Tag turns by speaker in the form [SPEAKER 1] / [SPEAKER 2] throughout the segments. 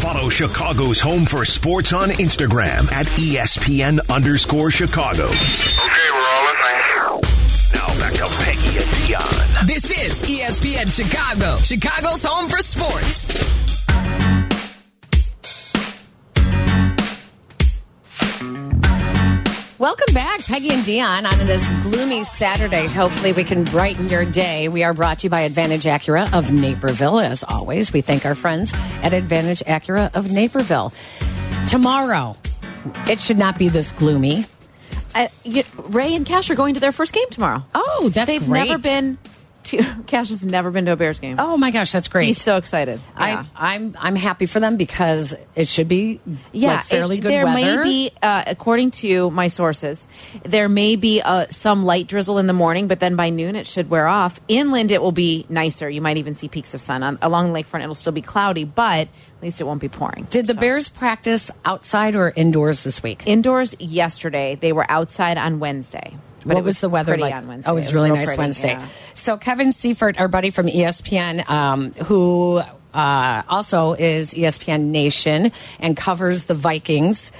[SPEAKER 1] Follow Chicago's Home for Sports on Instagram at E ESPN underscore Chicago.
[SPEAKER 2] Okay, we're all listening.
[SPEAKER 1] Now back to Peggy and Dion.
[SPEAKER 3] This is E ESPN Chicago, Chicago's home for sports.
[SPEAKER 4] Welcome back, Peggy and Dion, on this gloomy Saturday. Hopefully, we can brighten your day. We are brought to you by Advantage Acura of Naperville. As always, we thank our friends at Advantage Acura of Naperville. Tomorrow, it should not be this gloomy.
[SPEAKER 5] I, you, Ray and Cash are going to their first game tomorrow.
[SPEAKER 4] Oh, that's
[SPEAKER 5] They've
[SPEAKER 4] great.
[SPEAKER 5] never been to. Cash has never been to a Bears game.
[SPEAKER 4] Oh my gosh, that's great.
[SPEAKER 5] He's so excited. Yeah.
[SPEAKER 4] I, I'm I'm happy for them because it should be yeah,
[SPEAKER 5] it-
[SPEAKER 4] fairly good
[SPEAKER 5] there
[SPEAKER 4] weather.
[SPEAKER 5] may be, uh, according to my sources, there may be uh, some light drizzle in the morning, but then by noon it should wear off. Inland, it will be nicer. You might even see peaks of sun. On, along the lakefront, it'll still be cloudy, but at least it won't be pouring.
[SPEAKER 4] Did the
[SPEAKER 5] So-
[SPEAKER 4] Bears practice outside or indoors this week?
[SPEAKER 5] indoors yesterday? They were outside on Wednesday. But
[SPEAKER 4] what
[SPEAKER 5] it
[SPEAKER 4] was, the weather
[SPEAKER 5] pretty
[SPEAKER 4] like?
[SPEAKER 5] on Wednesday.
[SPEAKER 4] Oh, it was, really
[SPEAKER 5] real
[SPEAKER 4] nice
[SPEAKER 5] pretty,
[SPEAKER 4] Wednesday.
[SPEAKER 5] yeah.
[SPEAKER 4] So Kevin Seifert, our buddy from E ESPN, um, who uh, also is ESPN Nation and covers the Vikings,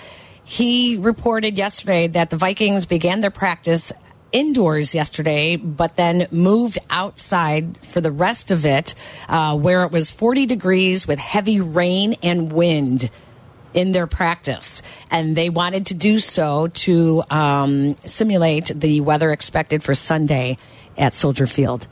[SPEAKER 4] he reported yesterday that the Vikings began their practice indoors yesterday, but then moved outside for the rest of it, uh, where it was 40 degrees with heavy rain and wind in their practice, and they wanted to do so to um, simulate the weather expected for Sunday at Soldier Field.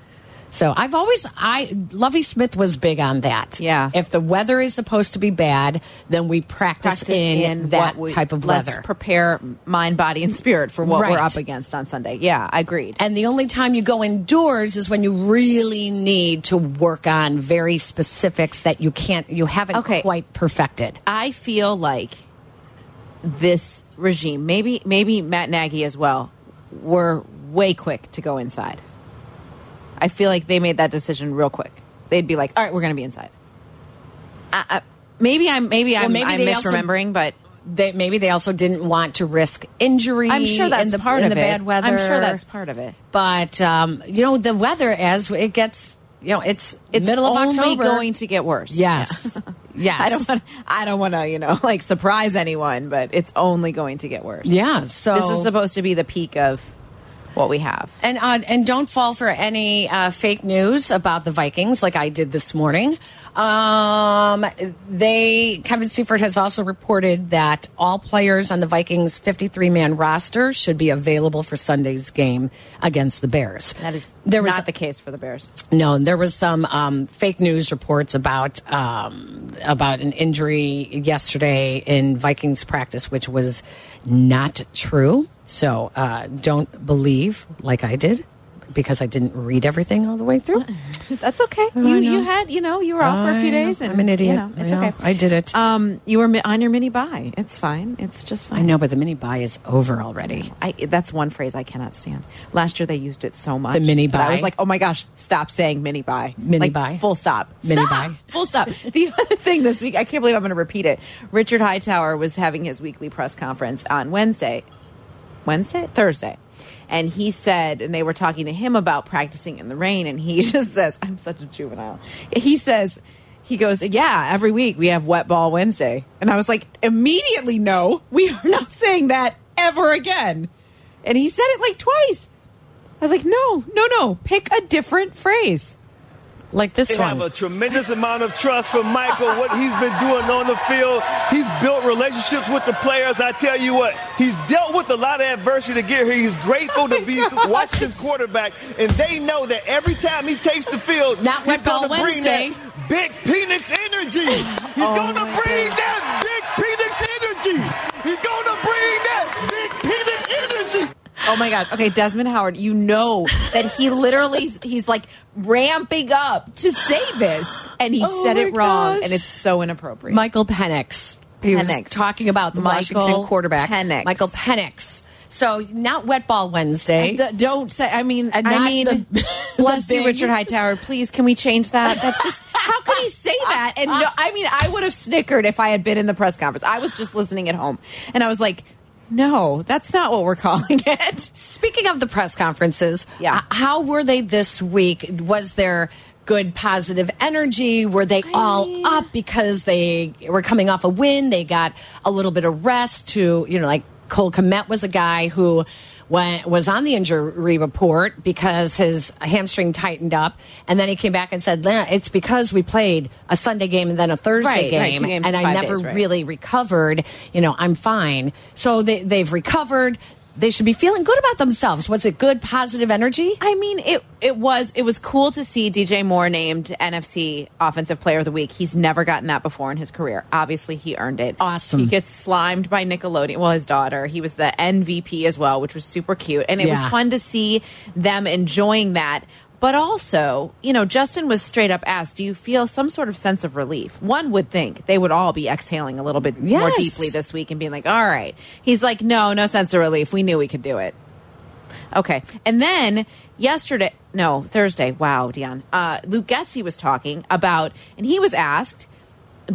[SPEAKER 4] So I've always I Lovey Smith was big on that.
[SPEAKER 5] Yeah.
[SPEAKER 4] If the weather is supposed to be bad, then we practice,
[SPEAKER 5] practice
[SPEAKER 4] in,
[SPEAKER 5] in
[SPEAKER 4] that
[SPEAKER 5] what we-
[SPEAKER 4] type of
[SPEAKER 5] let's
[SPEAKER 4] weather.
[SPEAKER 5] prepare mind, body, and spirit for what we're
[SPEAKER 4] Right.
[SPEAKER 5] up against on Sunday. Yeah, I agreed.
[SPEAKER 4] And the only time you go indoors is when you really need to work on very specifics that you can't you haven't
[SPEAKER 5] Okay.
[SPEAKER 4] quite perfected.
[SPEAKER 5] I feel like this regime, maybe maybe Matt Nagy as well, were way quick to go inside. I feel like they made that decision real quick. They'd be like, "All right, we're going to be inside." I, I, maybe I'm maybe I'm,
[SPEAKER 4] maybe
[SPEAKER 5] I'm
[SPEAKER 4] they also-
[SPEAKER 5] misremembering, but
[SPEAKER 4] They, maybe they also didn't want to risk injury.
[SPEAKER 5] I'm sure that's
[SPEAKER 4] in the,
[SPEAKER 5] part
[SPEAKER 4] in
[SPEAKER 5] of
[SPEAKER 4] the
[SPEAKER 5] it.
[SPEAKER 4] bad weather.
[SPEAKER 5] I'm sure that's part of it.
[SPEAKER 4] But um, you know, the weather as it gets, you know, it's
[SPEAKER 5] It's
[SPEAKER 4] middle of
[SPEAKER 5] only
[SPEAKER 4] October.
[SPEAKER 5] going to get worse.
[SPEAKER 4] yes, yes.
[SPEAKER 5] I don't. Wanna, I don't want to, you know, like surprise anyone, but it's only going to get worse.
[SPEAKER 4] Yeah. So
[SPEAKER 5] this is supposed to be the peak of what we have.
[SPEAKER 4] and uh, and don't fall for any uh, fake news about the Vikings, like I did this morning. Um, they Kevin Seifert has also reported that all players on the Vikings' 53-man roster should be available for Sunday's game against the Bears.
[SPEAKER 5] That is
[SPEAKER 4] there was
[SPEAKER 5] not the case for the Bears.
[SPEAKER 4] No, and there was some um, fake news reports about um, about an injury yesterday in Vikings practice, which was not true. So uh, don't believe like I did because I didn't read everything all the way through.
[SPEAKER 5] That's okay.
[SPEAKER 4] I
[SPEAKER 5] You you
[SPEAKER 4] know.
[SPEAKER 5] had you know you were off for a
[SPEAKER 4] I
[SPEAKER 5] few
[SPEAKER 4] know.
[SPEAKER 5] days. And,
[SPEAKER 4] I'm an idiot.
[SPEAKER 5] You know, it's
[SPEAKER 4] I know.
[SPEAKER 5] okay.
[SPEAKER 4] I did it.
[SPEAKER 5] Um, you were mi- on your mini buy. It's fine. It's just fine.
[SPEAKER 4] I know, but the mini buy is over already.
[SPEAKER 5] I, that's one phrase I cannot stand. Last year they used it so much.
[SPEAKER 4] The mini
[SPEAKER 5] that I was
[SPEAKER 4] buy.
[SPEAKER 5] like, oh my gosh, stop saying mini buy.
[SPEAKER 4] Mini
[SPEAKER 5] like,
[SPEAKER 4] buy.
[SPEAKER 5] Full stop.
[SPEAKER 4] Mini
[SPEAKER 5] Stop!
[SPEAKER 4] buy.
[SPEAKER 5] Full stop. The other thing this week, I can't believe I'm going to repeat it. Richard Hightower was having his weekly press conference on Wednesday. Wednesday? Thursday. And he said, and they were talking to him about practicing in the rain, and he just says, I'm such a juvenile. He says, he goes, Yeah, every week we have Wet Ball Wednesday. And I was like, Immediately, no, we are not saying that ever again. And he said it like twice. I was like, No, no, no, pick a different phrase.
[SPEAKER 4] Like this
[SPEAKER 6] They have a
[SPEAKER 4] one.
[SPEAKER 6] tremendous amount of trust from Michael, what he's been doing on the field. He's built relationships with the players. I tell you what, he's dealt with a lot of adversity to get here. He's grateful to be Washington's quarterback, and they know that every time he takes the field,
[SPEAKER 4] Not
[SPEAKER 6] he's
[SPEAKER 4] Wet Ball
[SPEAKER 6] going to bring
[SPEAKER 4] Wednesday. Oh
[SPEAKER 6] that big penis energy. He's going to bring that big penis energy. He's going to bring that big penis energy.
[SPEAKER 5] Oh my God. Okay, Desmond Howard, you know that he literally, he's like ramping up to say this, and he
[SPEAKER 4] Oh
[SPEAKER 5] said
[SPEAKER 4] my
[SPEAKER 5] it wrong,
[SPEAKER 4] gosh.
[SPEAKER 5] and it's so inappropriate.
[SPEAKER 4] Michael Penix. He
[SPEAKER 5] Penix.
[SPEAKER 4] was talking about the
[SPEAKER 5] Michael
[SPEAKER 4] Washington quarterback,
[SPEAKER 5] Penix.
[SPEAKER 4] Michael Penix. So not wet ball Wednesday.
[SPEAKER 5] Th- don't say, I mean,
[SPEAKER 4] And
[SPEAKER 5] I
[SPEAKER 4] not
[SPEAKER 5] mean,
[SPEAKER 4] the-
[SPEAKER 5] bless
[SPEAKER 4] the
[SPEAKER 5] you,
[SPEAKER 4] big-
[SPEAKER 5] Richard Hightower. Please, can we change that? That's just, how could he say that? And no, I mean, I would have snickered if I had been in the press conference. I was just listening at home, and I was like, no, that's not what we're calling it.
[SPEAKER 4] Speaking of the press conferences,
[SPEAKER 5] Yeah.
[SPEAKER 4] uh, how were they this week? Was there good positive energy? Were they all up because they were coming off a win? They got a little bit of rest to, you know, like Cole Komet was a guy who went, was on the injury report because his hamstring tightened up. And then he came back and said, "Nah, it's because we played a Sunday game and then a Thursday
[SPEAKER 5] Right,
[SPEAKER 4] game.
[SPEAKER 5] right, two games
[SPEAKER 4] and
[SPEAKER 5] in
[SPEAKER 4] I
[SPEAKER 5] five
[SPEAKER 4] never
[SPEAKER 5] days, right.
[SPEAKER 4] really recovered. You know, I'm fine. So they, they've recovered. They should be feeling good about themselves. Was it good, positive energy?
[SPEAKER 5] I mean, it it was it was cool to see DJ Moore named NFC Offensive Player of the Week. He's never gotten that before in his career. Obviously, he earned it.
[SPEAKER 4] Awesome.
[SPEAKER 5] He gets slimed by Nickelodeon. Well, his daughter. He was the MVP as well, which was super cute, and it
[SPEAKER 4] Yeah.
[SPEAKER 5] was fun to see them enjoying that. But also, you know, Justin was straight up asked, "Do you feel some sort of sense of relief?" One would think they would all be exhaling a little bit more
[SPEAKER 4] Yes.
[SPEAKER 5] deeply this week and being like, "All right." He's like, "No, no sense of relief. We knew we could do it." Okay. And then yesterday, no, Thursday, wow, Dion, uh, Luke Getzey was talking about, and he was asked,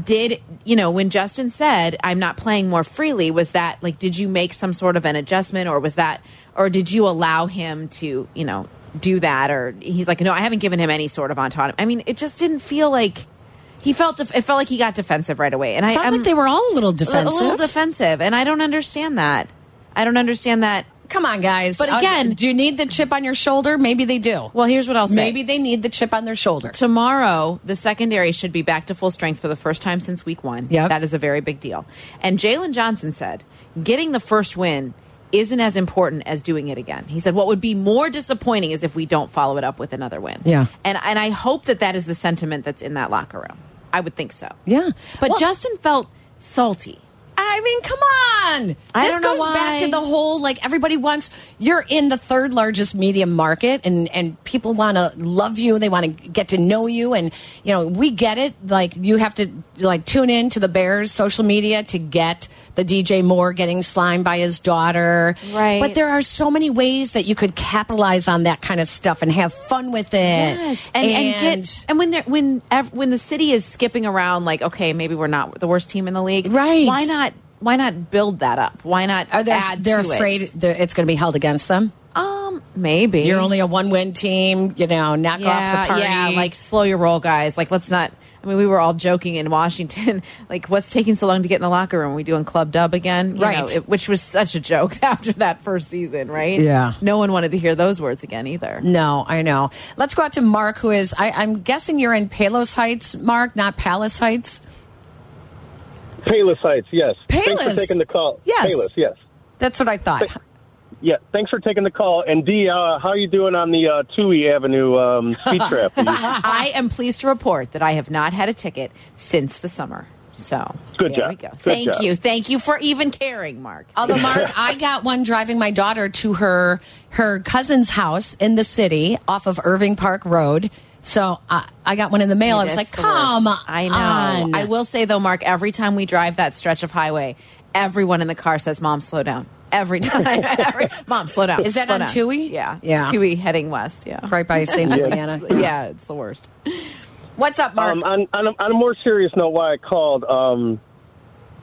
[SPEAKER 5] did, you know, when Justin said, I'm not playing more freely, was that like, did you make some sort of an adjustment or was that, or did you allow him to, you know, do that? Or he's like, no, I haven't given him any sort of autonomy. I mean, it just didn't feel like. He felt def- it felt like he got defensive right away, and I
[SPEAKER 4] Sounds
[SPEAKER 5] I'm-
[SPEAKER 4] like they were all a little
[SPEAKER 5] a little-
[SPEAKER 4] defensive.
[SPEAKER 5] a little defensive, and I don't understand that. I don't understand that
[SPEAKER 4] Come on, guys. Uh,
[SPEAKER 5] But again-
[SPEAKER 4] do you need the chip on your shoulder? Maybe they do.
[SPEAKER 5] Well, here's what I'll say.
[SPEAKER 4] Maybe they need the chip on their shoulder.
[SPEAKER 5] tomorrow the secondary should be back to full strength for the first time since week one.
[SPEAKER 4] Yep.
[SPEAKER 5] That is a very big deal. And Jalen Johnson said, getting the first win isn't as important as doing it again. He said, what would be more disappointing is if we don't follow it up with another win.
[SPEAKER 4] Yeah.
[SPEAKER 5] And, and I hope that that is the sentiment that's in that locker room. I would think so.
[SPEAKER 4] Yeah.
[SPEAKER 5] But
[SPEAKER 4] Well-
[SPEAKER 5] Justin felt salty.
[SPEAKER 4] I mean, come on.
[SPEAKER 5] I
[SPEAKER 4] this
[SPEAKER 5] don't know
[SPEAKER 4] goes back
[SPEAKER 5] why.
[SPEAKER 4] to the whole like everybody wants you're in the third largest media market and and people want to love you, they want to get to know you and you know, we get it like you have to like tune in to the Bears social media to get the DJ Moore getting slimed by his daughter.
[SPEAKER 5] Right.
[SPEAKER 4] But there are so many ways that you could capitalize on that kind of stuff and have fun with it.
[SPEAKER 5] and and, get and when they're when ev- when the city is skipping around like okay maybe we're not the worst team in the league
[SPEAKER 4] Right.
[SPEAKER 5] why not why not build that up why not
[SPEAKER 4] are they
[SPEAKER 5] add
[SPEAKER 4] they're
[SPEAKER 5] to
[SPEAKER 4] afraid
[SPEAKER 5] it?
[SPEAKER 4] they're, it's going to be held against them?
[SPEAKER 5] um maybe
[SPEAKER 4] You're only a one win team, you know, knock
[SPEAKER 5] yeah
[SPEAKER 4] off the party.
[SPEAKER 5] yeah like slow your roll guys like let's not I mean, we were all joking in Washington. Like, what's taking so long to get in the locker room? Are we doing Club Dub again? You
[SPEAKER 4] Right.
[SPEAKER 5] know, it- which was such a joke after that first season, right?
[SPEAKER 4] Yeah.
[SPEAKER 5] No one wanted to hear those words again either.
[SPEAKER 4] No, I know. Let's go out to Mark, who is, I, I'm guessing you're in Palos Heights, Mark, not Palace Heights.
[SPEAKER 7] Payless Heights, yes. Thanks
[SPEAKER 4] Payless.
[SPEAKER 7] for taking the call.
[SPEAKER 4] Yes.
[SPEAKER 7] Payless, yes.
[SPEAKER 4] That's what I thought.
[SPEAKER 7] Yeah, thanks for taking the call. And Dee, uh, how are you doing on the uh, Tui Avenue um, speed trap?
[SPEAKER 5] I am pleased to report that I have not had a ticket since the summer. So
[SPEAKER 7] Good
[SPEAKER 5] there
[SPEAKER 7] job.
[SPEAKER 5] we go.
[SPEAKER 7] Good
[SPEAKER 5] Thank
[SPEAKER 7] job.
[SPEAKER 5] you. Thank you for even caring, Mark.
[SPEAKER 4] Although, Mark, I got one driving my daughter to her her cousin's house in the city off of Irving Park Road. So I, I got one in the mail. I was like,
[SPEAKER 5] That's the
[SPEAKER 4] come
[SPEAKER 5] worst. I know.
[SPEAKER 4] on.
[SPEAKER 5] I will say though, Mark, every time we drive that stretch of highway, everyone in the car says, "Mom, slow down." Every time, Every- Mom, slow down.
[SPEAKER 4] Is that
[SPEAKER 5] Slow
[SPEAKER 4] on
[SPEAKER 5] down.
[SPEAKER 4] Tui?
[SPEAKER 5] Yeah,
[SPEAKER 4] Yeah.
[SPEAKER 5] Tui heading west. Yeah,
[SPEAKER 4] Right by St. Juliana.
[SPEAKER 5] yeah, it's the worst.
[SPEAKER 4] What's up, Mark?
[SPEAKER 7] Um, on, on, a, on a more serious note, why I called. Um,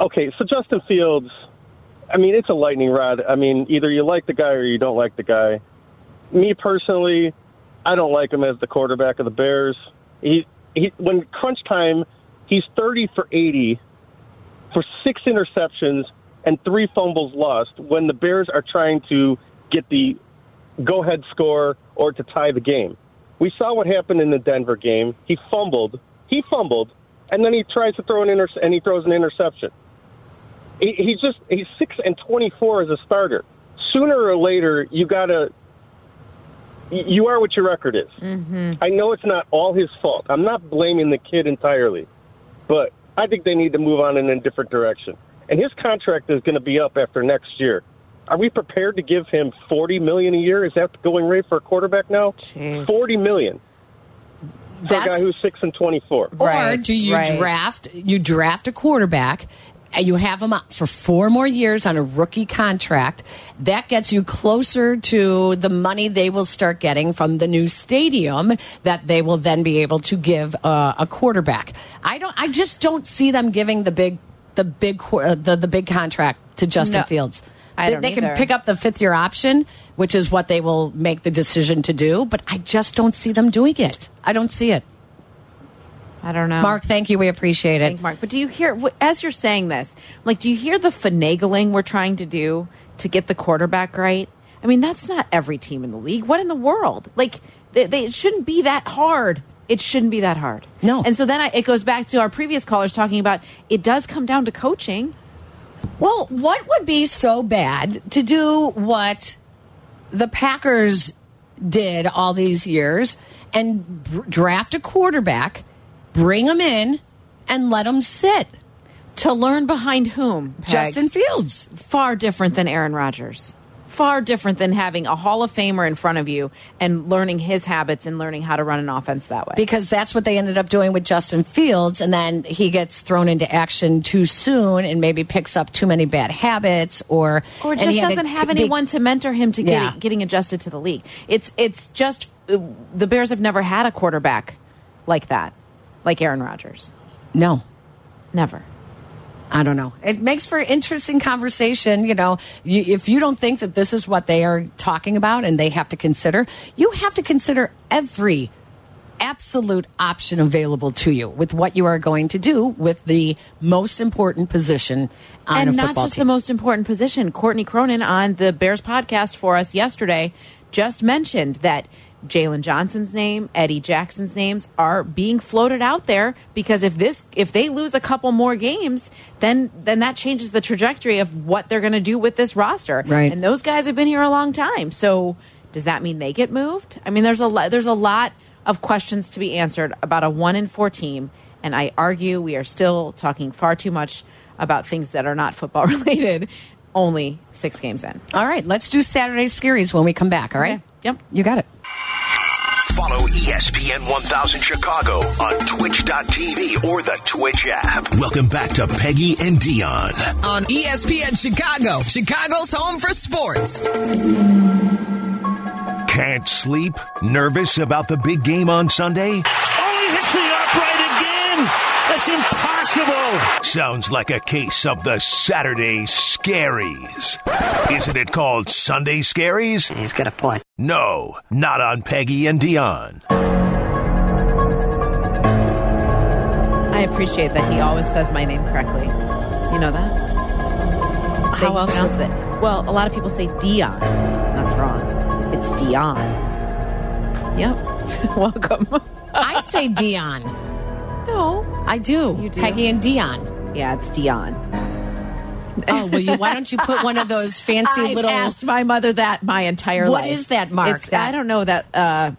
[SPEAKER 7] okay, so Justin Fields, I mean, it's a lightning rod. I mean, either you like the guy or you don't like the guy. Me personally, I don't like him as the quarterback of the Bears. He, he when crunch time, he's thirty for eighty for six interceptions and three fumbles lost when the Bears are trying to get the go ahead score or to tie the game. We saw what happened in the Denver game. He fumbled. He fumbled, and then he tries to throw an inter- and he throws an interception. He, he's just he's six and twenty four as a starter. Sooner or later, you gotta. y- You are what your record is. I know it's not all his fault. I'm not blaming the kid entirely, but I think they need to move on in a different direction. And his contract is going to be up after next year. Are we prepared to give him forty million a year? Is that the going rate for a quarterback now?
[SPEAKER 5] Jeez.
[SPEAKER 7] Forty million for a
[SPEAKER 4] That's-
[SPEAKER 7] guy who's six and twenty-four.
[SPEAKER 4] or
[SPEAKER 5] Right,
[SPEAKER 4] do you
[SPEAKER 5] right.
[SPEAKER 4] draft you draft a quarterback and you have him up for four more years on a rookie contract that gets you closer to the money they will start getting from the new stadium that they will then be able to give uh, a quarterback i don't i just don't see them giving the big the big qu- uh, the, the big contract to justin
[SPEAKER 5] No,
[SPEAKER 4] fields
[SPEAKER 5] I
[SPEAKER 4] They-
[SPEAKER 5] don't
[SPEAKER 4] they can
[SPEAKER 5] either.
[SPEAKER 4] pick up the fifth year option which is what they will make the decision to do but i just don't see them doing it i don't see it
[SPEAKER 5] I don't know.
[SPEAKER 4] Mark, thank you. We appreciate it.
[SPEAKER 5] Thank Mark. But do you hear wh- as you're saying this? I'm like, do you hear the finagling we're trying to do to get the quarterback right? I mean, that's not every team in the league. What in the world? Like, they, they it shouldn't be that hard. It shouldn't be that hard.
[SPEAKER 4] No.
[SPEAKER 5] And so then I, it goes back to our previous callers talking about it does come down to coaching.
[SPEAKER 4] Well, what would be so bad to do what the Packers did all these years and br- draft a quarterback, bring him in, and let him sit?
[SPEAKER 5] To learn behind whom? Peg?
[SPEAKER 4] Justin Fields.
[SPEAKER 5] far different than Aaron Rodgers. Far different than having a Hall of Famer in front of you and learning his habits and learning how to run an offense that way.
[SPEAKER 4] because that's what they ended up doing with Justin Fields. And then he gets thrown into action too soon and maybe picks up too many bad habits or.
[SPEAKER 5] or
[SPEAKER 4] and
[SPEAKER 5] just
[SPEAKER 4] he had to
[SPEAKER 5] doesn't have
[SPEAKER 4] be-
[SPEAKER 5] anyone to mentor him to
[SPEAKER 4] Yeah.
[SPEAKER 5] getting, getting adjusted to the league. It's it's just uh, the Bears have never had a quarterback like that, like Aaron Rodgers.
[SPEAKER 4] No.
[SPEAKER 5] Never.
[SPEAKER 4] I don't know. It makes for interesting conversation. You know, you, if you don't think that this is what they are talking about and they have to consider, you have to consider every absolute option available to you with what you are going to do with the most important position on a
[SPEAKER 5] and not
[SPEAKER 4] football
[SPEAKER 5] just
[SPEAKER 4] team.
[SPEAKER 5] the most important position. Courtney Cronin on the Bears podcast for us yesterday just mentioned that Jalen Johnson's name, Eddie Jackson's names are being floated out there because if this if they lose a couple more games, then then that changes the trajectory of what they're going to do with this roster.
[SPEAKER 4] Right.
[SPEAKER 5] And those guys have been here a long time. So does that mean they get moved? I mean, there's a lot, there's a lot of questions to be answered about a one in four team, and I argue we are still talking far too much about things that are not football related. Only six games in.
[SPEAKER 4] all right, let's do Saturday Scaries when we come back. All right.
[SPEAKER 5] Okay. Yep.
[SPEAKER 4] You got it.
[SPEAKER 1] Follow E ESPN 1000 Chicago on twitch.tv or the Twitch app. Welcome back to Peggy and Dion.
[SPEAKER 3] On E ESPN Chicago, Chicago's home for sports.
[SPEAKER 1] Can't sleep? Nervous about the big game on
[SPEAKER 8] Oh,
[SPEAKER 1] Sunday?
[SPEAKER 8] he hits the upright again. That's impossible.
[SPEAKER 1] Sounds like a case of the Saturday scaries. Isn't it called Sunday scaries?
[SPEAKER 9] He's got a point.
[SPEAKER 1] No, not on Peggy and Dion.
[SPEAKER 5] I appreciate that he always says my name correctly. You know that? How
[SPEAKER 4] else
[SPEAKER 5] pronounce it? Well, a lot of people say Dion. That's wrong. It's Dion. Yep. Welcome.
[SPEAKER 4] I say Dion.
[SPEAKER 5] No.
[SPEAKER 4] I do.
[SPEAKER 5] You do?
[SPEAKER 4] Peggy and Dion.
[SPEAKER 5] Yeah, it's Dion.
[SPEAKER 4] Oh, well, you, why don't you put one of those fancy
[SPEAKER 5] I've
[SPEAKER 4] little.
[SPEAKER 5] asked my mother that my entire
[SPEAKER 4] What
[SPEAKER 5] life.
[SPEAKER 4] is that, Mark?
[SPEAKER 5] It's- I don't know that.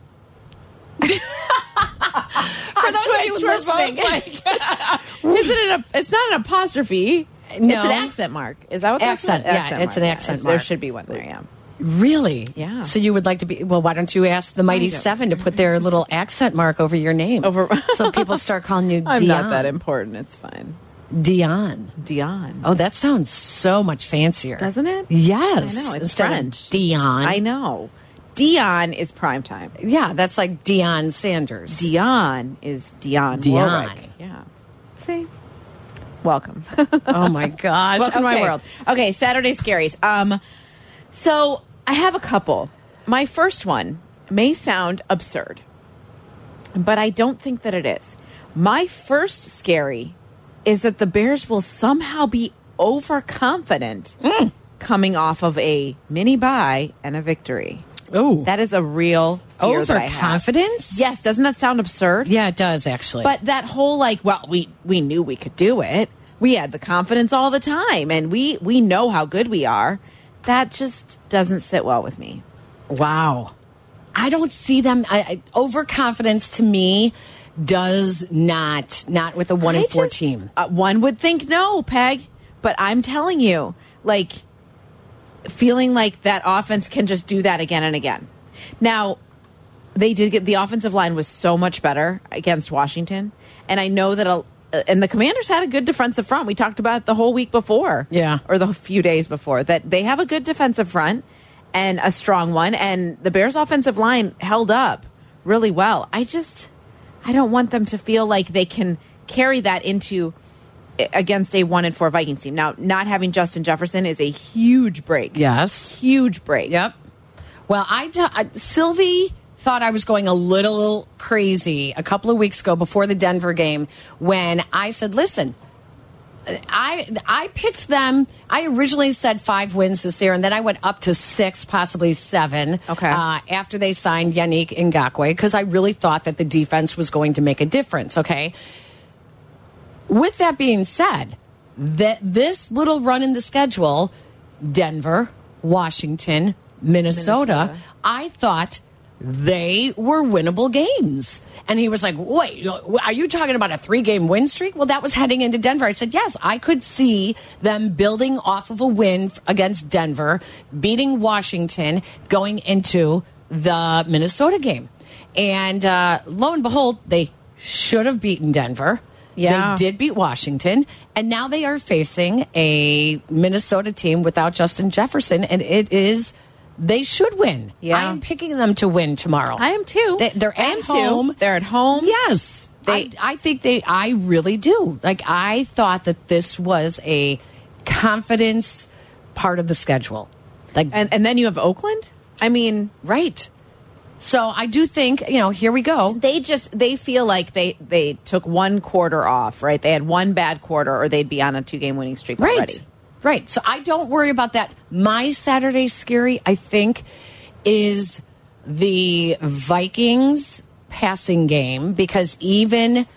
[SPEAKER 5] Uh,
[SPEAKER 4] For those of you
[SPEAKER 5] We're both
[SPEAKER 4] listening,
[SPEAKER 5] like- is it an? It's not an apostrophe.
[SPEAKER 4] No.
[SPEAKER 5] It's an accent mark. Is that what that's
[SPEAKER 4] Accent, yeah, it's an
[SPEAKER 5] mark.
[SPEAKER 4] accent
[SPEAKER 5] There
[SPEAKER 4] mark.
[SPEAKER 5] should be one there. Yeah.
[SPEAKER 4] Really?
[SPEAKER 5] Yeah.
[SPEAKER 4] So you would like to be well? Why don't you ask the Mighty
[SPEAKER 5] don't-
[SPEAKER 4] Seven to put their little accent mark over your name,
[SPEAKER 5] Over-
[SPEAKER 4] so people start calling you
[SPEAKER 5] I'm
[SPEAKER 4] Dion.
[SPEAKER 5] not that important. It's fine.
[SPEAKER 4] Dion.
[SPEAKER 5] Dion.
[SPEAKER 4] Oh, that sounds so much fancier,
[SPEAKER 5] Doesn't it?
[SPEAKER 4] Yes.
[SPEAKER 5] I know, it's
[SPEAKER 4] Instead of
[SPEAKER 5] French.
[SPEAKER 4] Dion.
[SPEAKER 5] I know. Dion is prime time.
[SPEAKER 4] Yeah, that's like Dion Sanders.
[SPEAKER 5] Dion is Dion.
[SPEAKER 4] Dion.
[SPEAKER 5] Warwick. Yeah. See. Welcome.
[SPEAKER 4] oh my gosh!
[SPEAKER 5] Welcome to
[SPEAKER 4] Okay.
[SPEAKER 5] my world. Okay, Saturday scaries. Um, so I have a couple. My first one may sound absurd, but I don't think that it is. My first scary is that the Bears will somehow be overconfident
[SPEAKER 4] Mm.
[SPEAKER 5] coming off of a mini bye and a victory.
[SPEAKER 4] Ooh,
[SPEAKER 5] That is a real fear that I have.
[SPEAKER 4] overconfidence.
[SPEAKER 5] Yes, doesn't that sound absurd?
[SPEAKER 4] Yeah, it does actually.
[SPEAKER 5] But that whole like, well, we we knew we could do it. We had the confidence all the time, and we we know how good we are. That just doesn't sit well with me.
[SPEAKER 4] Wow. I don't see them. I, I, overconfidence to me does not, not with a one in
[SPEAKER 5] I
[SPEAKER 4] four
[SPEAKER 5] just-
[SPEAKER 4] team.
[SPEAKER 5] uh, one would think no, Peg, but I'm telling you, like, feeling like that offense can just do that again and again. Now, they did get the offensive line was so much better against Washington, and I know that a. uh, And the Commanders had a good defensive front. We talked about it the whole week before,
[SPEAKER 4] Yeah.
[SPEAKER 5] or the few days before that they have a good defensive front and a strong one. And the Bears' offensive line held up really well. I just, I don't want them to feel like they can carry that into eh, against a one and four Vikings team. Now, not having Justin Jefferson is a huge break.
[SPEAKER 4] Yes.
[SPEAKER 5] Huge break.
[SPEAKER 4] Yep. Well, I, do, I Sylvie thought I was going a little crazy a couple of weeks ago before the Denver game when I said, listen, I I picked them. I originally said five wins this year, and then I went up to six, possibly seven.
[SPEAKER 5] Okay.
[SPEAKER 4] Uh, after they signed Yannick Ngakwe, because I really thought that the defense was going to make a difference. Okay. With that being said, that this little run in the schedule, Denver, Washington, Minnesota,
[SPEAKER 5] Minnesota.
[SPEAKER 4] I thought they were winnable games. And he was like, wait, are you talking about a three game win streak? Well, that was heading into Denver. I said, yes, I could see them building off of a win f- against Denver, beating Washington, going into the Minnesota game. And uh, lo and behold, they should have beaten Denver.
[SPEAKER 5] Yeah.
[SPEAKER 4] They did beat Washington, and now they are facing a Minnesota team without Justin Jefferson, and it is they should win.
[SPEAKER 5] Yeah.
[SPEAKER 4] I'm picking them to win tomorrow.
[SPEAKER 5] I am too.
[SPEAKER 4] They, are
[SPEAKER 5] I am
[SPEAKER 4] at
[SPEAKER 5] too.
[SPEAKER 4] home.
[SPEAKER 5] They're at home.
[SPEAKER 4] Yes,
[SPEAKER 5] They-
[SPEAKER 4] I, I think they. I really do. Like I thought that this was a confidence part of the schedule. Like
[SPEAKER 5] And and then you have Oakland. I mean,
[SPEAKER 4] right. So I do think you know. Here we go.
[SPEAKER 5] they just they feel like they they took one quarter off, right? They had one bad quarter, or they'd be on a two game winning streak
[SPEAKER 4] Right.
[SPEAKER 5] already.
[SPEAKER 4] Right. So I don't worry about that. My Saturday scary, I think, is the Vikings passing game because even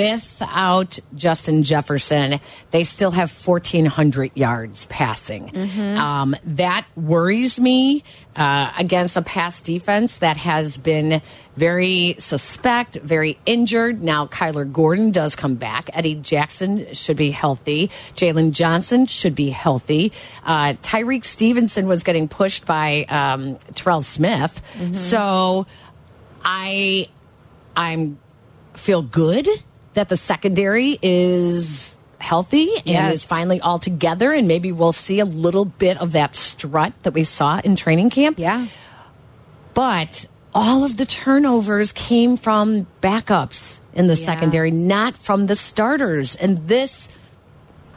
[SPEAKER 4] without Justin Jefferson, they still have 1,400 yards passing.
[SPEAKER 5] Mm-hmm.
[SPEAKER 4] Um, that worries me uh, against a pass defense that has been very suspect, very injured. Now, Kyler Gordon does come back. Eddie Jackson should be healthy. Jalen Johnson should be healthy. Uh, Tyreek Stevenson was getting pushed by um, Terrell Smith. So I I'm feel good that the secondary is healthy and
[SPEAKER 5] Yes.
[SPEAKER 4] is finally all together and maybe we'll see a little bit of that strut that we saw in training camp
[SPEAKER 5] Yeah.
[SPEAKER 4] but all of the turnovers came from backups in the
[SPEAKER 5] Yeah.
[SPEAKER 4] secondary, not from the starters. And this,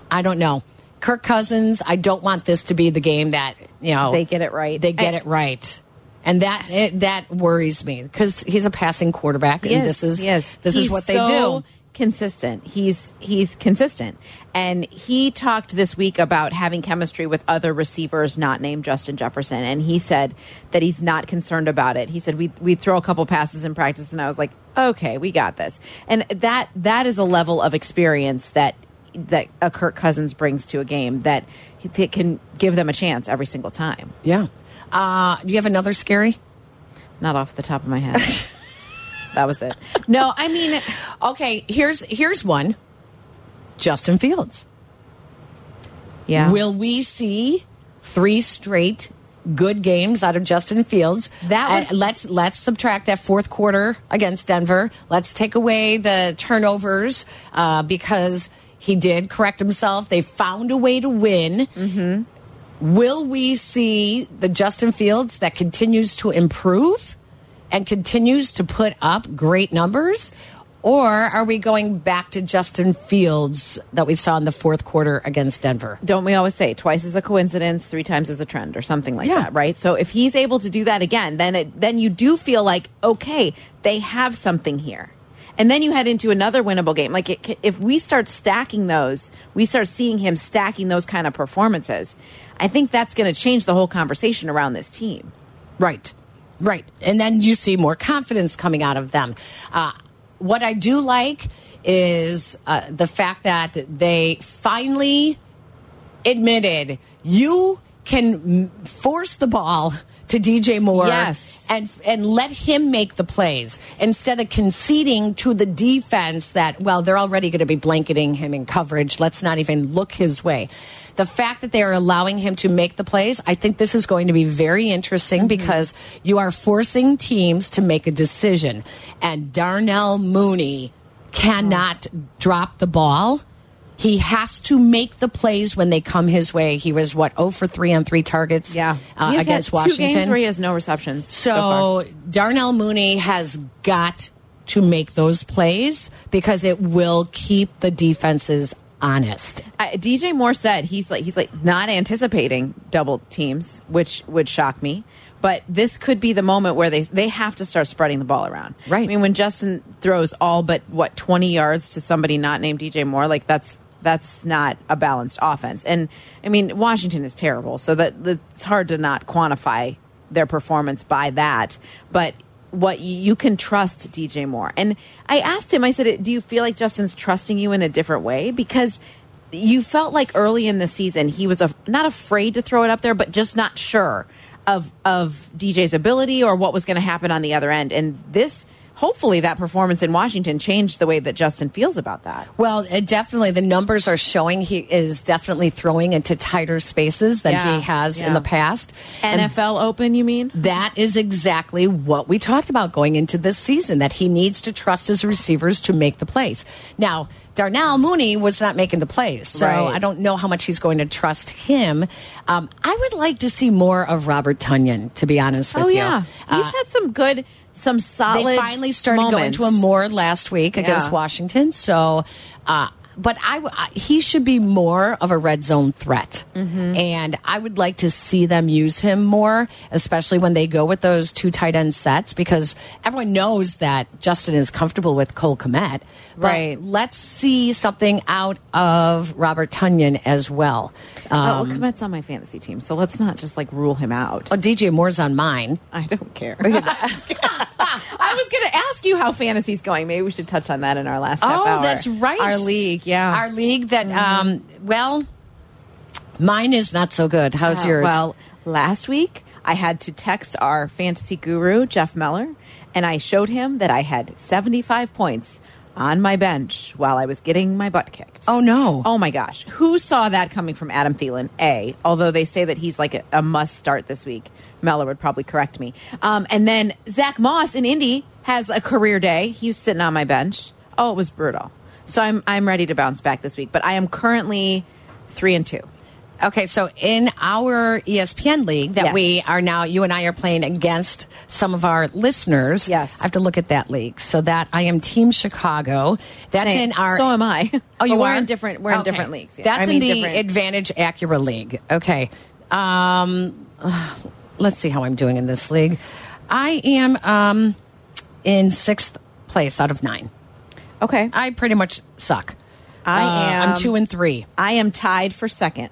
[SPEAKER 4] I don't know. Kirk Cousins, I don't want this to be the game that you know
[SPEAKER 5] They get it right.
[SPEAKER 4] They get
[SPEAKER 5] I-
[SPEAKER 4] it right, and that it, that worries me because he's a passing quarterback, and this is
[SPEAKER 5] yes.
[SPEAKER 4] this is
[SPEAKER 5] He's
[SPEAKER 4] what they
[SPEAKER 5] so
[SPEAKER 4] do.
[SPEAKER 5] Consistent. He's he's consistent, and he talked this week about having chemistry with other receivers not named Justin Jefferson, and he said that he's not concerned about it. He said we we throw a couple passes in practice, and I was like, okay, we got this, and that that is a level of experience that that a Kirk Cousins brings to a game that that can give them a chance every single time.
[SPEAKER 4] Yeah. Uh, do you have another scary?
[SPEAKER 5] Not off the top of my head. that was it. No, I mean.
[SPEAKER 4] Okay, here's here's one. Justin Fields.
[SPEAKER 5] Yeah.
[SPEAKER 4] Will we see three straight good games out of Justin Fields?
[SPEAKER 5] That was-
[SPEAKER 4] And let's let's subtract that fourth quarter against Denver. Let's take away the turnovers uh, because he did correct himself. They found a way to win.
[SPEAKER 5] Mm-hmm.
[SPEAKER 4] Will we see the Justin Fields that continues to improve and continues to put up great numbers? Or are we going back to Justin Fields that we saw in the fourth quarter against Denver?
[SPEAKER 5] don't we always say twice is a coincidence, three times is a trend, or something like
[SPEAKER 4] Yeah.
[SPEAKER 5] that, right? So if he's able to do that again, then it, then you do feel like okay, they have something here, and then you head into another winnable game. Like it, ca- if we start stacking those, we start seeing him stacking those kind of performances. I think that's going to change the whole conversation around this team.
[SPEAKER 4] Right, right. And then you see more confidence coming out of them. Uh, what I do like is uh, the fact that they finally admitted you can m- force the ball to DJ Moore
[SPEAKER 5] Yes.
[SPEAKER 4] and and let him make the plays instead of conceding to the defense that well they're already going to be blanketing him in coverage let's not even look his way the fact that they are allowing him to make the plays i think this is going to be very
[SPEAKER 5] Mm-hmm.
[SPEAKER 4] interesting because you are forcing teams to make a decision and Darnell Mooney cannot drop the ball he has to make the plays when they come his way. He was what 0 for 3 on 3 targets uh,
[SPEAKER 5] He has had
[SPEAKER 4] against
[SPEAKER 5] two
[SPEAKER 4] Washington.
[SPEAKER 5] games where he has no receptions. So, far.
[SPEAKER 4] So Darnell Mooney has got to make those plays because it will keep the defenses honest.
[SPEAKER 5] I, DJ Moore said he's like he's like not anticipating double teams, which would shock me. But this could be the moment where they they have to start spreading the ball around.
[SPEAKER 4] Right.
[SPEAKER 5] I mean, when Justin throws all but what twenty yards to somebody not named DJ Moore, like that's that's not a balanced offense. And I mean, Washington is terrible, so that, that it's hard to not quantify their performance by that. But what you, you can trust DJ Moore. And I asked him, I said, "Do you feel like Justin's trusting you in a different way?" Because you felt like early in the season he was a, not afraid to throw it up there, but just not sure of of DJ's ability or what was going to happen on the other end. And this, hopefully, that performance in Washington changed the way that Justin feels about that.
[SPEAKER 4] Well, it definitely, the numbers are showing he is definitely throwing into tighter spaces than
[SPEAKER 5] Yeah,
[SPEAKER 4] he has
[SPEAKER 5] yeah.
[SPEAKER 4] in the past.
[SPEAKER 5] NFL Open, you mean?
[SPEAKER 4] That is exactly what we talked about going into this season that he needs to trust his receivers to make the plays. Now, Darnell Mooney was not making the plays, so
[SPEAKER 5] Right.
[SPEAKER 4] I don't know how much he's going to trust him. Um, I would like to see more of Robert Tunyon, to be honest with
[SPEAKER 5] Oh
[SPEAKER 4] you.
[SPEAKER 5] yeah, he's
[SPEAKER 4] Uh,
[SPEAKER 5] had some good, some solid.
[SPEAKER 4] they finally started going
[SPEAKER 5] moments.
[SPEAKER 4] to a more last week against Washington. So, uh, but I, w- I- he should be more of a red zone threat,
[SPEAKER 5] Mm-hmm.
[SPEAKER 4] and I would like to see them use him more, especially when they go with those two tight end sets because everyone knows that Justin is comfortable with Cole Komet. But
[SPEAKER 5] Right.
[SPEAKER 4] Let's see something out of Robert Tunyon as well.
[SPEAKER 5] Oh,
[SPEAKER 4] Um,
[SPEAKER 5] well, Komet's on my fantasy team, so let's not just like rule him out.
[SPEAKER 4] oh, DJ Moore's on mine.
[SPEAKER 5] I don't care. I was going to ask you how fantasy's going. Maybe we should touch on that in our last. half
[SPEAKER 4] Oh,
[SPEAKER 5] hour.
[SPEAKER 4] that's right.
[SPEAKER 5] Our league, yeah.
[SPEAKER 4] Our league that, um, well, mine is not so good. How's
[SPEAKER 5] Uh,
[SPEAKER 4] yours?
[SPEAKER 5] Well, last week I had to text our fantasy guru, Jeff Meller, and I showed him that I had 75 points on my bench while I was getting my butt kicked.
[SPEAKER 4] oh no.
[SPEAKER 5] Oh my gosh. Who saw that coming from Adam Thielen? A, although they say that he's like a, a must start this week. Mellor would probably correct me. Um, and then Zach Moss in Indy has a career day. He was sitting on my bench. Oh, it was brutal. So I'm, I'm ready to bounce back this week, but I am currently three and two.
[SPEAKER 4] Okay, so in our E ESPN league that
[SPEAKER 5] Yes.
[SPEAKER 4] we are now, you and I are playing against some of our listeners.
[SPEAKER 5] Yes.
[SPEAKER 4] I have to look at that league. So that I am Team Chicago. That's
[SPEAKER 5] Same.
[SPEAKER 4] in our.
[SPEAKER 5] So am I.
[SPEAKER 4] Oh, you
[SPEAKER 5] But we're
[SPEAKER 4] are
[SPEAKER 5] in different- we're in different leagues, yeah.
[SPEAKER 4] That's
[SPEAKER 5] I
[SPEAKER 4] in
[SPEAKER 5] mean,
[SPEAKER 4] the
[SPEAKER 5] different-
[SPEAKER 4] Advantage Acura League. Okay. Um, let's see how I'm doing in this league. I am um, in sixth place out of nine.
[SPEAKER 5] Okay.
[SPEAKER 4] I pretty much suck.
[SPEAKER 5] I
[SPEAKER 4] Uh,
[SPEAKER 5] am-
[SPEAKER 4] I'm two and three.
[SPEAKER 5] I am tied for second,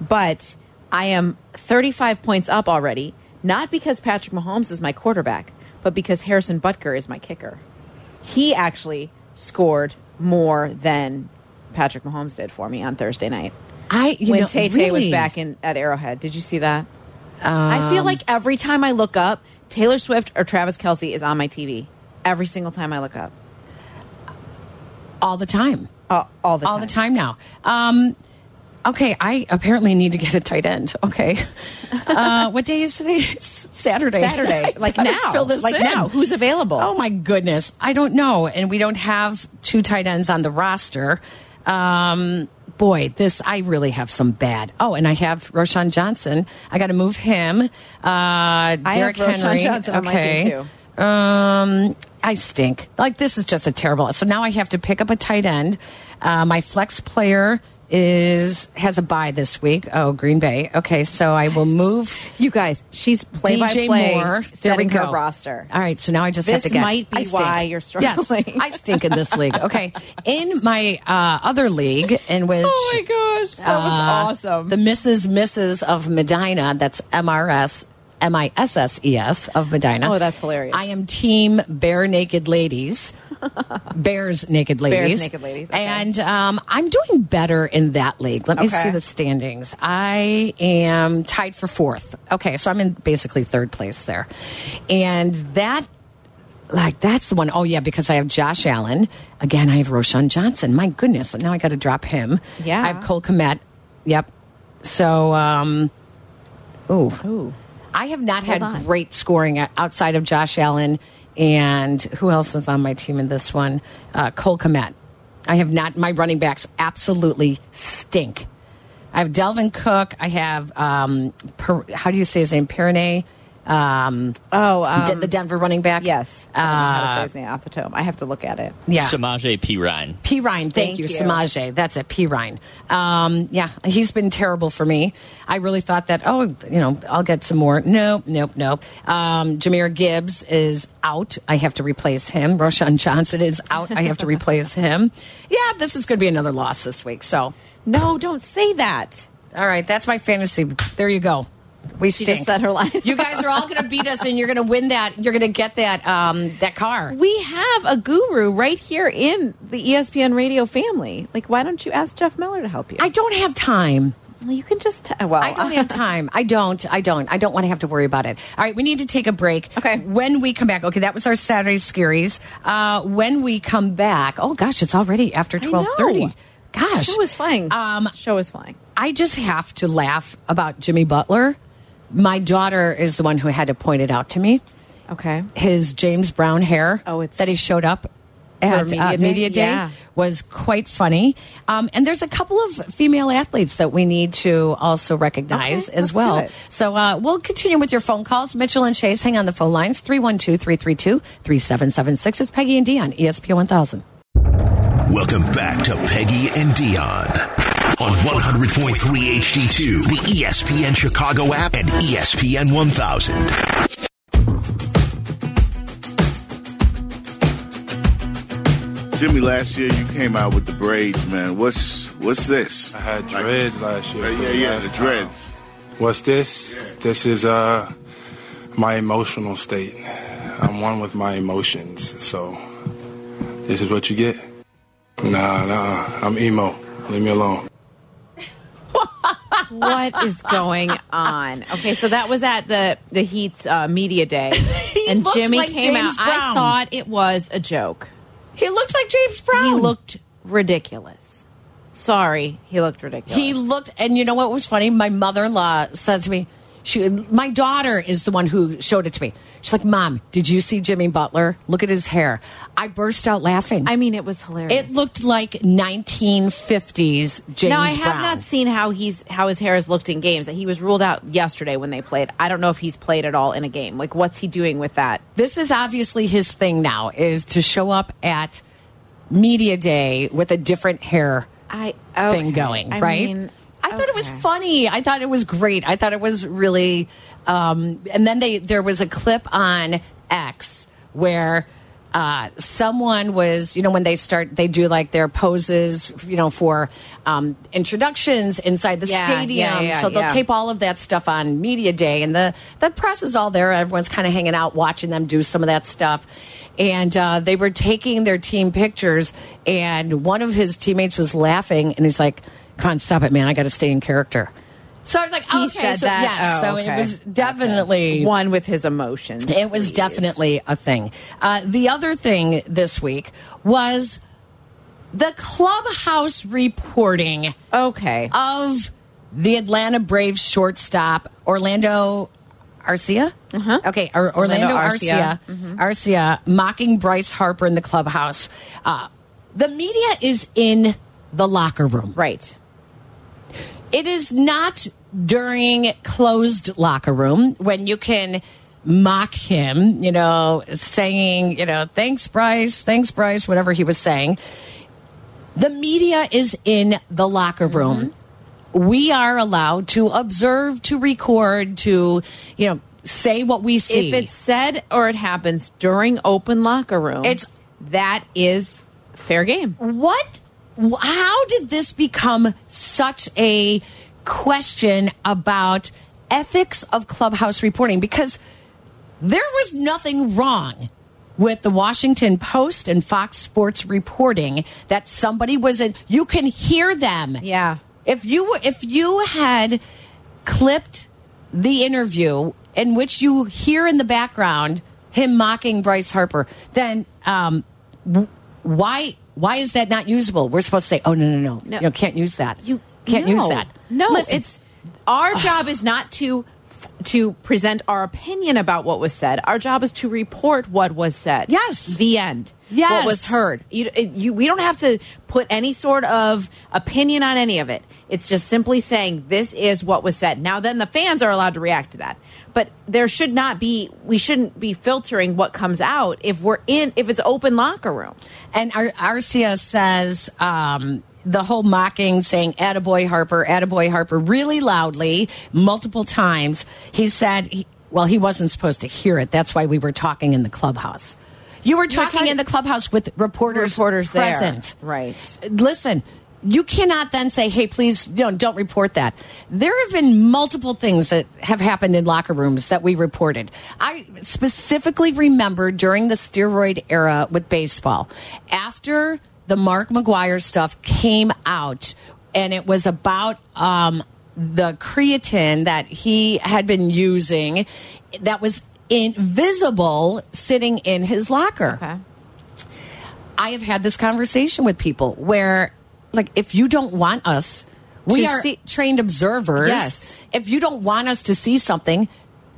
[SPEAKER 5] but I am 35 points up already, not because Patrick Mahomes is my quarterback, but because Harrison Butker is my kicker. He actually scored more than Patrick Mahomes did for me on Thursday night.
[SPEAKER 4] I you
[SPEAKER 5] when
[SPEAKER 4] know,
[SPEAKER 5] Tay Tay
[SPEAKER 4] really, Um,
[SPEAKER 5] was back in at Arrowhead. Did you see that? I feel like every time I look up, Taylor Swift or Travis Kelsey is on my TV. Every single time I look up.
[SPEAKER 4] all the time.
[SPEAKER 5] Uh, all the time.
[SPEAKER 4] all the time now. Um, okay, I apparently need to get a tight end. Okay, uh, what day is today? It's Saturday.
[SPEAKER 5] Saturday,
[SPEAKER 4] I
[SPEAKER 5] like
[SPEAKER 4] gotta
[SPEAKER 5] now,
[SPEAKER 4] Fill this
[SPEAKER 5] like
[SPEAKER 4] in.
[SPEAKER 5] now. Who's available?
[SPEAKER 4] Oh my goodness, I don't know, and we don't have two tight ends on the roster. Um, boy, this I really have some bad. Oh, and I have Roshan Johnson. I got to move him. Uh, Derek
[SPEAKER 5] Roshon
[SPEAKER 4] Henry.
[SPEAKER 5] Johnson on my team,
[SPEAKER 4] okay.
[SPEAKER 5] too.
[SPEAKER 4] Um, I stink. Like this is just a terrible. So now I have to pick up a tight end. Uh, my flex player is has a bye this week. Oh, Green Bay. Okay, so I will move
[SPEAKER 5] You guys, she's
[SPEAKER 4] DJ
[SPEAKER 5] play by play
[SPEAKER 4] Moore. There we
[SPEAKER 5] setting
[SPEAKER 4] go.
[SPEAKER 5] her roster.
[SPEAKER 4] All right, so now I just have
[SPEAKER 5] This
[SPEAKER 4] to get.
[SPEAKER 5] might be
[SPEAKER 4] I stink.
[SPEAKER 5] why you're struggling.
[SPEAKER 4] Yes, I stink in this league. Okay, in my uh, other league, in which
[SPEAKER 5] Oh gosh, that
[SPEAKER 4] uh, The Mrs. Mrs. of Medina. That's MRS. M I S S E S of Medina.
[SPEAKER 5] Oh, that's hilarious.
[SPEAKER 4] I am team bare naked ladies. Bears naked ladies.
[SPEAKER 5] naked ladies, okay.
[SPEAKER 4] And um, I'm doing better in that league. Let me
[SPEAKER 5] Okay.
[SPEAKER 4] see the standings. I am tied for fourth. Okay, so I'm in basically third place there. And that like that's the one. Oh yeah, because I have Josh Allen again. I have Roshan Johnson. My goodness, now I got to drop him.
[SPEAKER 5] Yeah.
[SPEAKER 4] I have Cole Komet. Yep. So, um, ooh, I have not had
[SPEAKER 5] on.
[SPEAKER 4] great scoring o- outside of Josh Allen and who else is on my team in this one? Uh, Cole Komet. I have not. My running backs absolutely stink. I have Delvin Cook. I have um, per, how do you say his name? Pernay. Um,
[SPEAKER 5] Oh, um,
[SPEAKER 4] the Denver running back.
[SPEAKER 5] yes. I don't know how to say
[SPEAKER 4] Uh,
[SPEAKER 5] his name off the top. I have to look at it.
[SPEAKER 4] yeah.
[SPEAKER 9] Samaje P. Ryan.
[SPEAKER 4] P. Ryan, thank,
[SPEAKER 5] Thank
[SPEAKER 4] you,
[SPEAKER 5] you.
[SPEAKER 4] Samaje. That's it, P. Ryan. Um, yeah, he's been terrible for me. I really thought that, oh, you know, I'll get some more. Nope, nope, nope. Um, Jameer Gibbs is out. I have to replace him. Roshan Johnson is out. I have to replace him. Yeah, this is going to be another loss this week. So,
[SPEAKER 5] No, don't say that.
[SPEAKER 4] all right, that's my fantasy. There you go. We
[SPEAKER 5] She
[SPEAKER 4] stink.
[SPEAKER 5] just said her line.
[SPEAKER 4] you guys are all going to beat us, and you're going to win that. You're going to get that um, that car.
[SPEAKER 5] We have a guru right here in the E ESPN radio family. Like, why don't you ask Jeff Miller to help you?
[SPEAKER 4] I don't have time.
[SPEAKER 5] Well, you can just t- well.
[SPEAKER 4] I don't have time. I don't. I don't. I don't want to have to worry about it. All right, we need to take a break.
[SPEAKER 5] Okay.
[SPEAKER 4] When we come back, okay, that was our Saturday scaries. Uh, when we come back, oh gosh, it's already after
[SPEAKER 5] I know.
[SPEAKER 4] twelve thirty. Gosh,
[SPEAKER 5] Show is flying.
[SPEAKER 4] Um,
[SPEAKER 5] show is flying.
[SPEAKER 4] I just have to laugh about Jimmy Butler. My daughter is the one who had to point it out to me.
[SPEAKER 5] Okay.
[SPEAKER 4] His James Brown hair.
[SPEAKER 5] Oh, it's-
[SPEAKER 4] that he showed up. At
[SPEAKER 5] Media
[SPEAKER 4] uh,
[SPEAKER 5] Day?
[SPEAKER 4] media day
[SPEAKER 5] Yeah.
[SPEAKER 4] was quite funny, um, and there's a couple of female athletes that we need to also recognize
[SPEAKER 5] Okay,
[SPEAKER 4] as
[SPEAKER 5] let's
[SPEAKER 4] well.
[SPEAKER 5] do it.
[SPEAKER 4] So uh, we'll continue with your phone calls. Mitchell and Chase, hang on the phone lines 312 332 3776. It's Peggy and D on E ESPN 1000.
[SPEAKER 1] Welcome back to Peggy and Dion on 100.3 HD2, the E ESPN Chicago app and E ESPN 1000.
[SPEAKER 10] Jimmy, last year you came out with the braids, man. What's what's this?
[SPEAKER 11] I had dreads last year.
[SPEAKER 10] Yeah,
[SPEAKER 11] for
[SPEAKER 10] yeah,
[SPEAKER 11] the
[SPEAKER 10] yeah,
[SPEAKER 11] last
[SPEAKER 10] the
[SPEAKER 11] time.
[SPEAKER 10] dreads.
[SPEAKER 11] What's this? This is uh my emotional state. I'm one with my emotions, so this is what you get. Nah, nah, I'm emo. Leave me alone.
[SPEAKER 5] What is going on? Okay, so that was at the the Heat's uh, media day, and
[SPEAKER 4] looked
[SPEAKER 5] Jimmy
[SPEAKER 4] like
[SPEAKER 5] came
[SPEAKER 4] James
[SPEAKER 5] out.
[SPEAKER 4] Brown.
[SPEAKER 5] I thought it was a joke.
[SPEAKER 4] He looked like James Brown.
[SPEAKER 5] He looked ridiculous. Sorry, he looked ridiculous.
[SPEAKER 4] He looked, and you know what was funny? My mother in law said to me, she, my daughter is the one who showed it to me. She's like, Mom, did you see Jimmy Butler? Look at his hair. I burst out laughing.
[SPEAKER 5] I mean, it was hilarious.
[SPEAKER 4] it looked like 1950s James
[SPEAKER 5] now I have
[SPEAKER 4] Brown.
[SPEAKER 5] not seen how he's how his hair has looked in games. He was ruled out yesterday when they played. I don't know if he's played at all in a game. Like, what's he doing with that?
[SPEAKER 4] this is obviously his thing now is to show up at media day with a different hair
[SPEAKER 5] I
[SPEAKER 4] thing going
[SPEAKER 5] I
[SPEAKER 4] right
[SPEAKER 5] mean,
[SPEAKER 4] i thought it was
[SPEAKER 5] okay.
[SPEAKER 4] funny i thought it was great i thought it was really um, and then they there was a clip on x where uh, someone was, you know, when they start, they do like their poses, you know, for um, introductions inside the
[SPEAKER 5] Yeah,
[SPEAKER 4] stadium.
[SPEAKER 5] yeah, yeah,
[SPEAKER 4] so they'll
[SPEAKER 5] yeah.
[SPEAKER 4] tape all of that stuff on media day and the the press is all there everyone's kind of hanging out watching them do some of that stuff and uh, they were taking their team pictures and one of his teammates was laughing and he's like con stop it man i gotta stay in character so i was like
[SPEAKER 5] He
[SPEAKER 4] okay
[SPEAKER 5] said
[SPEAKER 4] so,
[SPEAKER 5] that?
[SPEAKER 4] yes
[SPEAKER 5] Oh,
[SPEAKER 4] so it
[SPEAKER 5] okay.
[SPEAKER 4] was definitely
[SPEAKER 5] one with his emotions.
[SPEAKER 4] it was
[SPEAKER 5] please.
[SPEAKER 4] definitely a thing. Uh, the other thing this week was the clubhouse reporting
[SPEAKER 5] okay.
[SPEAKER 4] Oh. of the Atlanta Braves shortstop Orlando Arcia. Okay, or, Orlando,
[SPEAKER 5] Orlando
[SPEAKER 4] Arcia.
[SPEAKER 5] Arcia.
[SPEAKER 4] Arcia, mocking Bryce Harper in the clubhouse. Uh, the media is in the locker room.
[SPEAKER 5] right.
[SPEAKER 4] It is not during closed locker room when you can mock him, you know, saying, you know, thanks, Bryce, thanks, Bryce, whatever he was saying. The media is in the locker
[SPEAKER 5] Mm-hmm.
[SPEAKER 4] room. We are allowed to observe, to record, to, you know, say what we see.
[SPEAKER 5] If it's said or it happens during open locker room,
[SPEAKER 4] It's-
[SPEAKER 5] that is fair game.
[SPEAKER 4] what wh- how did this become such a question about ethics of clubhouse reporting because there was nothing wrong with the Washington Post and Fox Sports reporting that somebody was in you can hear them
[SPEAKER 5] Yeah.
[SPEAKER 4] if you if you had clipped the interview in which you hear in the background him mocking Bryce Harper, then um, w- why why is that not usable? We're supposed to say, oh no no no,
[SPEAKER 5] No.
[SPEAKER 4] you know, can't use that.
[SPEAKER 5] You
[SPEAKER 4] can't
[SPEAKER 5] no.
[SPEAKER 4] use that.
[SPEAKER 5] No,
[SPEAKER 4] Listen,
[SPEAKER 5] it's our job is not to f- to present our opinion about what was said. Our job is to report what was said.
[SPEAKER 4] Yes.
[SPEAKER 5] the end.
[SPEAKER 4] Yes.
[SPEAKER 5] what was heard. You, it- you, we don't have to put any sort of opinion on any of it. It's just simply saying this is what was said. Now, then the fans are allowed to react to that. But there should not be. We shouldn't be filtering what comes out if we're in. If it's open locker room.
[SPEAKER 4] And Ar- Arcia says um, the whole mocking, saying "Attaboy Harper, Attaboy Harper" really loudly, multiple times. He said, he, "Well, he wasn't supposed to hear it. That's why we were talking in the clubhouse. You were talking,
[SPEAKER 5] talking-
[SPEAKER 4] in the clubhouse with reporters,
[SPEAKER 5] Reporters there.
[SPEAKER 4] present,
[SPEAKER 5] Right.
[SPEAKER 4] Listen." You cannot then say, "Hey, please, you know, don't report that." There have been multiple things that have happened in locker rooms that we reported. I specifically remember during the steroid era with baseball, after the Mark McGuire stuff came out, and it was about um, the creatine that he had been using that was invisible sitting in his locker.
[SPEAKER 5] Okay.
[SPEAKER 4] I have had this conversation with people where, like, if you don't want us, we
[SPEAKER 5] To
[SPEAKER 4] are
[SPEAKER 5] see-
[SPEAKER 4] trained observers.
[SPEAKER 5] Yes.
[SPEAKER 4] If you don't want us to see something,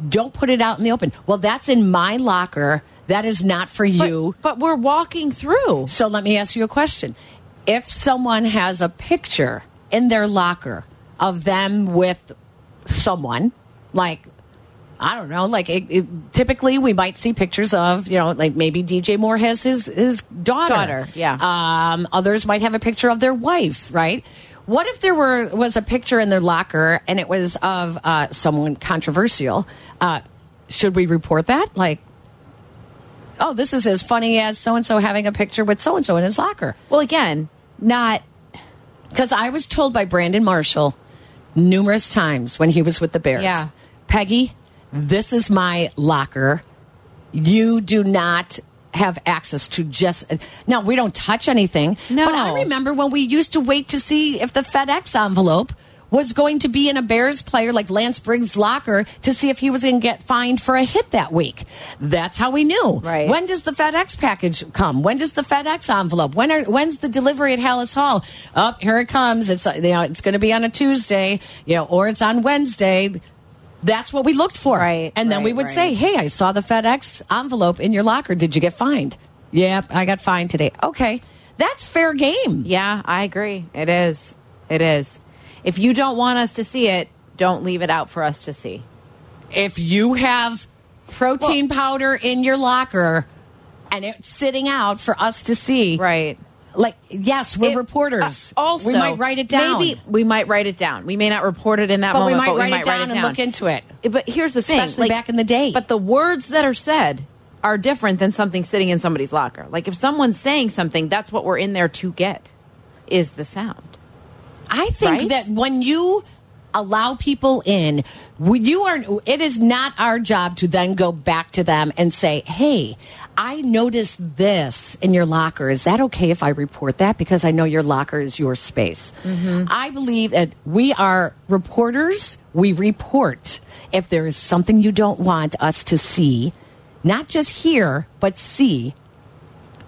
[SPEAKER 4] don't put it out in the open. Well, that's in my locker. That is not for
[SPEAKER 5] But-
[SPEAKER 4] you.
[SPEAKER 5] But, we're walking through.
[SPEAKER 4] So let me ask you a question. If someone has a picture in their locker of them with someone, like, I don't know, like it, it, typically we might see pictures of, you know, like maybe DJ Moore has his, his daughter.
[SPEAKER 5] Daughter, yeah.
[SPEAKER 4] Um, others might have a picture of their wife, right? What if there were was a picture in their locker and it was of uh, someone controversial? Uh, should we report that? Like, oh, this is as funny as so and so having a picture with so and so in his locker.
[SPEAKER 5] Well, again, not
[SPEAKER 4] Because I was told by Brandon Marshall numerous times when he was with the Bears
[SPEAKER 5] Yeah.
[SPEAKER 4] Peggy, this is my locker. You do not have access to just. Now, we don't touch anything.
[SPEAKER 5] No.
[SPEAKER 4] But I remember when we used to wait to see if the FedEx envelope was going to be in a Bears player like Lance Briggs' locker to see if he was going to get fined for a hit that week. That's how we knew.
[SPEAKER 5] Right.
[SPEAKER 4] When does the FedEx package come? When does the FedEx envelope? When are when's the delivery at Hallis Hall? Up here it comes. It's uh, you know it's going to be on a Tuesday, you know, or it's on Wednesday. That's what we looked for.
[SPEAKER 5] Right,
[SPEAKER 4] And then we
[SPEAKER 5] right,
[SPEAKER 4] would
[SPEAKER 5] right.
[SPEAKER 4] say, "Hey, I saw the FedEx envelope in your locker. Did you get fined?" Yep, I got fined today. Okay. That's fair game.
[SPEAKER 5] Yeah, I agree. It is. It is. If you don't want us to see it, don't leave it out for us to see.
[SPEAKER 4] if you have protein powder in your locker and it's sitting out for us to see,
[SPEAKER 5] Right.
[SPEAKER 4] Like, yes, we're
[SPEAKER 5] It-
[SPEAKER 4] reporters.
[SPEAKER 5] uh, also,
[SPEAKER 4] we might write it down.
[SPEAKER 5] Maybe we might write it down. We may not report it in that
[SPEAKER 4] but
[SPEAKER 5] moment,
[SPEAKER 4] we might
[SPEAKER 5] but
[SPEAKER 4] write
[SPEAKER 5] we might
[SPEAKER 4] it down
[SPEAKER 5] write it
[SPEAKER 4] and
[SPEAKER 5] down.
[SPEAKER 4] look into it.
[SPEAKER 5] but here's the thing,
[SPEAKER 4] Especially back in the day.
[SPEAKER 5] But the words that are said are different than something sitting in somebody's locker. Like if someone's saying something, that's what we're in there to get is the sound.
[SPEAKER 4] I think
[SPEAKER 5] Right?
[SPEAKER 4] that when you allow people in, we- you are. It is not our job to then go back to them and say, "Hey, I noticed this in your locker. Is that okay if I report that? Because I know your locker is your space." I believe that we are reporters. We report if there is something you don't want us to see, not just hear, but see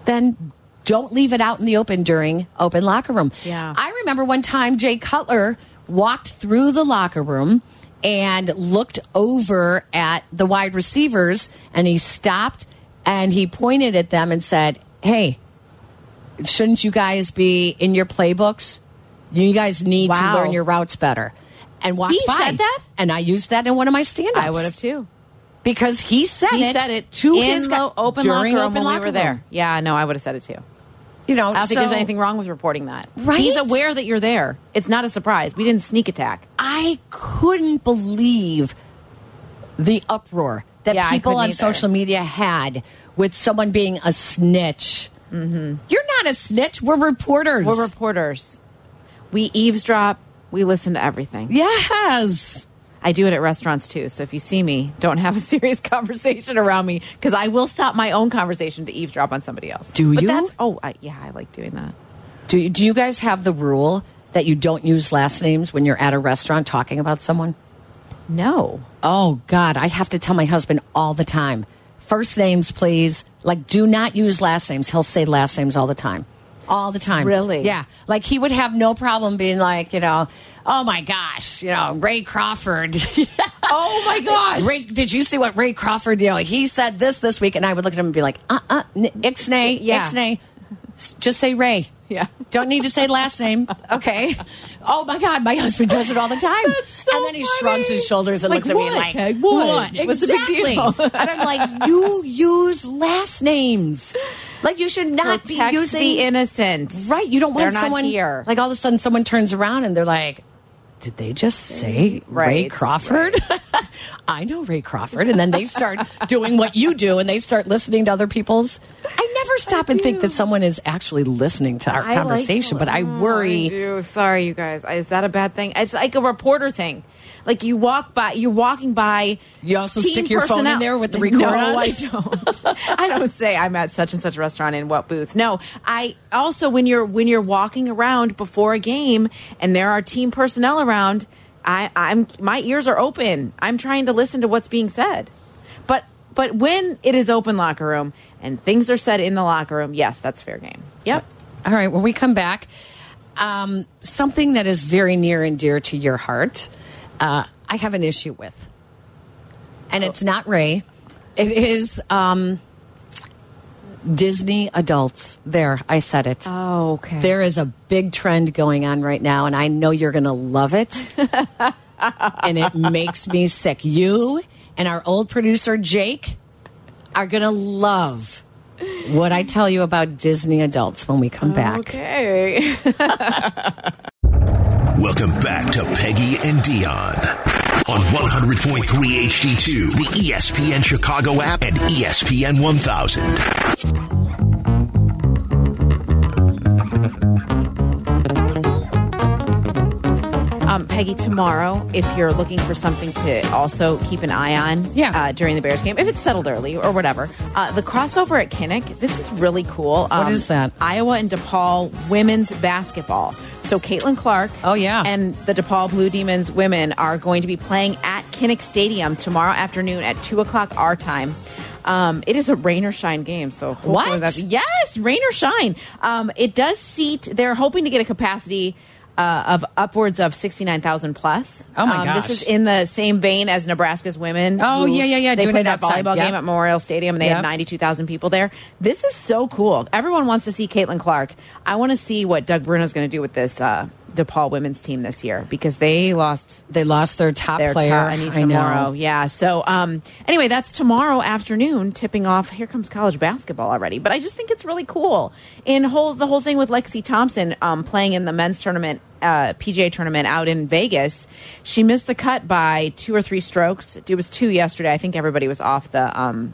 [SPEAKER 4] then don't leave it out in the open during open locker room.
[SPEAKER 5] Yeah.
[SPEAKER 4] I remember one time Jay Cutler walked through the locker room and looked over at the wide receivers and he stopped and he pointed at them and said, "Hey, shouldn't you guys be in your playbooks? You guys need
[SPEAKER 5] Wow.
[SPEAKER 4] to learn your routes better." And walked
[SPEAKER 5] He
[SPEAKER 4] by.
[SPEAKER 5] said that?
[SPEAKER 4] and I used that in one of my stand-ups.
[SPEAKER 5] I would have too.
[SPEAKER 4] because he said
[SPEAKER 5] He
[SPEAKER 4] it.
[SPEAKER 5] said it
[SPEAKER 4] to
[SPEAKER 5] in
[SPEAKER 4] his
[SPEAKER 5] lo-
[SPEAKER 4] guy-
[SPEAKER 5] open locker
[SPEAKER 4] during
[SPEAKER 5] room
[SPEAKER 4] open
[SPEAKER 5] when
[SPEAKER 4] locker
[SPEAKER 5] we were
[SPEAKER 4] room.
[SPEAKER 5] there. Yeah, no, I would have said it too.
[SPEAKER 4] You know,
[SPEAKER 5] I don't think
[SPEAKER 4] so-
[SPEAKER 5] there's anything wrong with reporting that.
[SPEAKER 4] Right?
[SPEAKER 5] He's aware that you're there. It's not a surprise. We didn't sneak attack.
[SPEAKER 4] I couldn't believe the uproar that
[SPEAKER 5] Yeah, I
[SPEAKER 4] people
[SPEAKER 5] couldn't
[SPEAKER 4] on
[SPEAKER 5] either.
[SPEAKER 4] social media had with someone being a snitch. You're not a snitch. We're reporters.
[SPEAKER 5] Mm-hmm. We're reporters. We eavesdrop. We listen to everything.
[SPEAKER 4] yes.
[SPEAKER 5] I do it at restaurants too. So if you see me, don't have a serious conversation around me because I will stop my own conversation to eavesdrop on somebody else.
[SPEAKER 4] Do
[SPEAKER 5] But
[SPEAKER 4] you?
[SPEAKER 5] That's, oh, I, yeah, I like doing that.
[SPEAKER 4] Do, do you guys have the rule that you don't use last names when you're at a restaurant talking about someone?
[SPEAKER 5] No.
[SPEAKER 4] Oh, God. I have to tell my husband all the time first names, please. Like, do not use last names. He'll say last names all the time. All the time.
[SPEAKER 5] Really?
[SPEAKER 4] Yeah. Like, he would have no problem being like, you know, oh my gosh, you know, Ray Crawford.
[SPEAKER 5] Oh my gosh.
[SPEAKER 4] Ray, did you see what Ray uh-uh, Crawford, you know, he said this this week? And I would look at him and be like, uh uh, ixnay,
[SPEAKER 5] Yeah.
[SPEAKER 4] ixnay. S- Just say Ray.
[SPEAKER 5] Yeah.
[SPEAKER 4] Don't need to say last name. Okay. Oh my God, my husband does it all the time.
[SPEAKER 5] That's so
[SPEAKER 4] and then he
[SPEAKER 5] funny.
[SPEAKER 4] shrugs his shoulders and
[SPEAKER 5] Like,
[SPEAKER 4] looks at me
[SPEAKER 5] what,
[SPEAKER 4] like,
[SPEAKER 5] Peg? What? What's the big
[SPEAKER 4] Exactly.
[SPEAKER 5] deal?
[SPEAKER 4] and I'm like, you use last names. Like you should not
[SPEAKER 5] Protect
[SPEAKER 4] be using
[SPEAKER 5] the innocent.
[SPEAKER 4] Right. You don't
[SPEAKER 5] They're
[SPEAKER 4] want
[SPEAKER 5] not
[SPEAKER 4] someone
[SPEAKER 5] here.
[SPEAKER 4] like all of a sudden someone turns around and they're like, did they just say Ray
[SPEAKER 5] Right,
[SPEAKER 4] Crawford? I know Ray Crawford. And then they start doing what you do and they start listening to other people's. I never stop and think that someone is actually listening to our
[SPEAKER 5] I like to-
[SPEAKER 4] conversation, but I
[SPEAKER 5] Oh, I
[SPEAKER 4] worry.
[SPEAKER 5] do. Sorry, you guys. Is that a bad thing? It's like a reporter thing. Like you walk by, you're walking by.
[SPEAKER 4] You also
[SPEAKER 5] team
[SPEAKER 4] stick your phone in
[SPEAKER 5] personnel.
[SPEAKER 4] there with the record
[SPEAKER 5] No,
[SPEAKER 4] on?
[SPEAKER 5] I don't. I don't say I'm at such and such restaurant in what booth. No, I also when you're when you're walking around before a game and there are team personnel around, I, I'm my ears are open. I'm trying to listen to what's being said. But but when it is open locker room and things are said in the locker room, yes, that's fair game. Yep.
[SPEAKER 4] All right, when we come back, um, something that is very near and dear to your heart, uh, I have an issue with. And it's not Ray, it is um, Disney adults. There, I said it.
[SPEAKER 5] Oh, okay.
[SPEAKER 4] There is a big trend going on right now, and I know you're going to love it. and it makes me sick. You and our old producer, Jake, are going to love what I tell you about Disney adults when we come back.
[SPEAKER 5] Okay.
[SPEAKER 1] Welcome back to Peggy and Dion on 100.3 HD2, the E ESPN Chicago app and E ESPN 1000.
[SPEAKER 5] Um, Peggy, tomorrow, if you're looking for something to also keep an eye on
[SPEAKER 4] Yeah.
[SPEAKER 5] uh, during the Bears game, if it's settled early or whatever, uh, the crossover at Kinnick, this is really cool. Um,
[SPEAKER 4] is that?
[SPEAKER 5] Iowa and DePaul women's basketball. So Caitlin Clark
[SPEAKER 4] Oh, yeah.
[SPEAKER 5] and the DePaul Blue Demons women are going to be playing at Kinnick Stadium tomorrow afternoon at 2 o'clock our time. Um, it is a rain or shine game, so hopefully
[SPEAKER 4] What?
[SPEAKER 5] that's- yes, rain or shine. Um, it does seat. They're hoping to get a capacity uh, of upwards of sixty nine thousand plus.
[SPEAKER 4] Oh, my
[SPEAKER 5] um,
[SPEAKER 4] gosh.
[SPEAKER 5] This is in the same vein as Nebraska's women.
[SPEAKER 4] Oh,
[SPEAKER 5] who-
[SPEAKER 4] yeah, yeah, yeah,
[SPEAKER 5] They
[SPEAKER 4] doing
[SPEAKER 5] played
[SPEAKER 4] it
[SPEAKER 5] that
[SPEAKER 4] outside,
[SPEAKER 5] volleyball
[SPEAKER 4] yeah.
[SPEAKER 5] game at Memorial Stadium, and they
[SPEAKER 4] Yeah.
[SPEAKER 5] had ninety two thousand people there. This is so cool. Everyone wants to see Caitlin Clark. I want to see what Doug Bruno's going to do with this uh, DePaul women's team this year because they lost
[SPEAKER 4] They lost their top
[SPEAKER 5] their
[SPEAKER 4] player.
[SPEAKER 5] top
[SPEAKER 4] I
[SPEAKER 5] Anissa
[SPEAKER 4] know.
[SPEAKER 5] Morrow. Yeah. So um, anyway, that's tomorrow afternoon, tipping off. Here comes college basketball already. But I just think it's really cool. In whole the whole thing with Lexi Thompson um, playing in the men's tournament, uh, PGA tournament out in Vegas, she missed the cut by two or three strokes. It was two yesterday. I think everybody was off the. Um,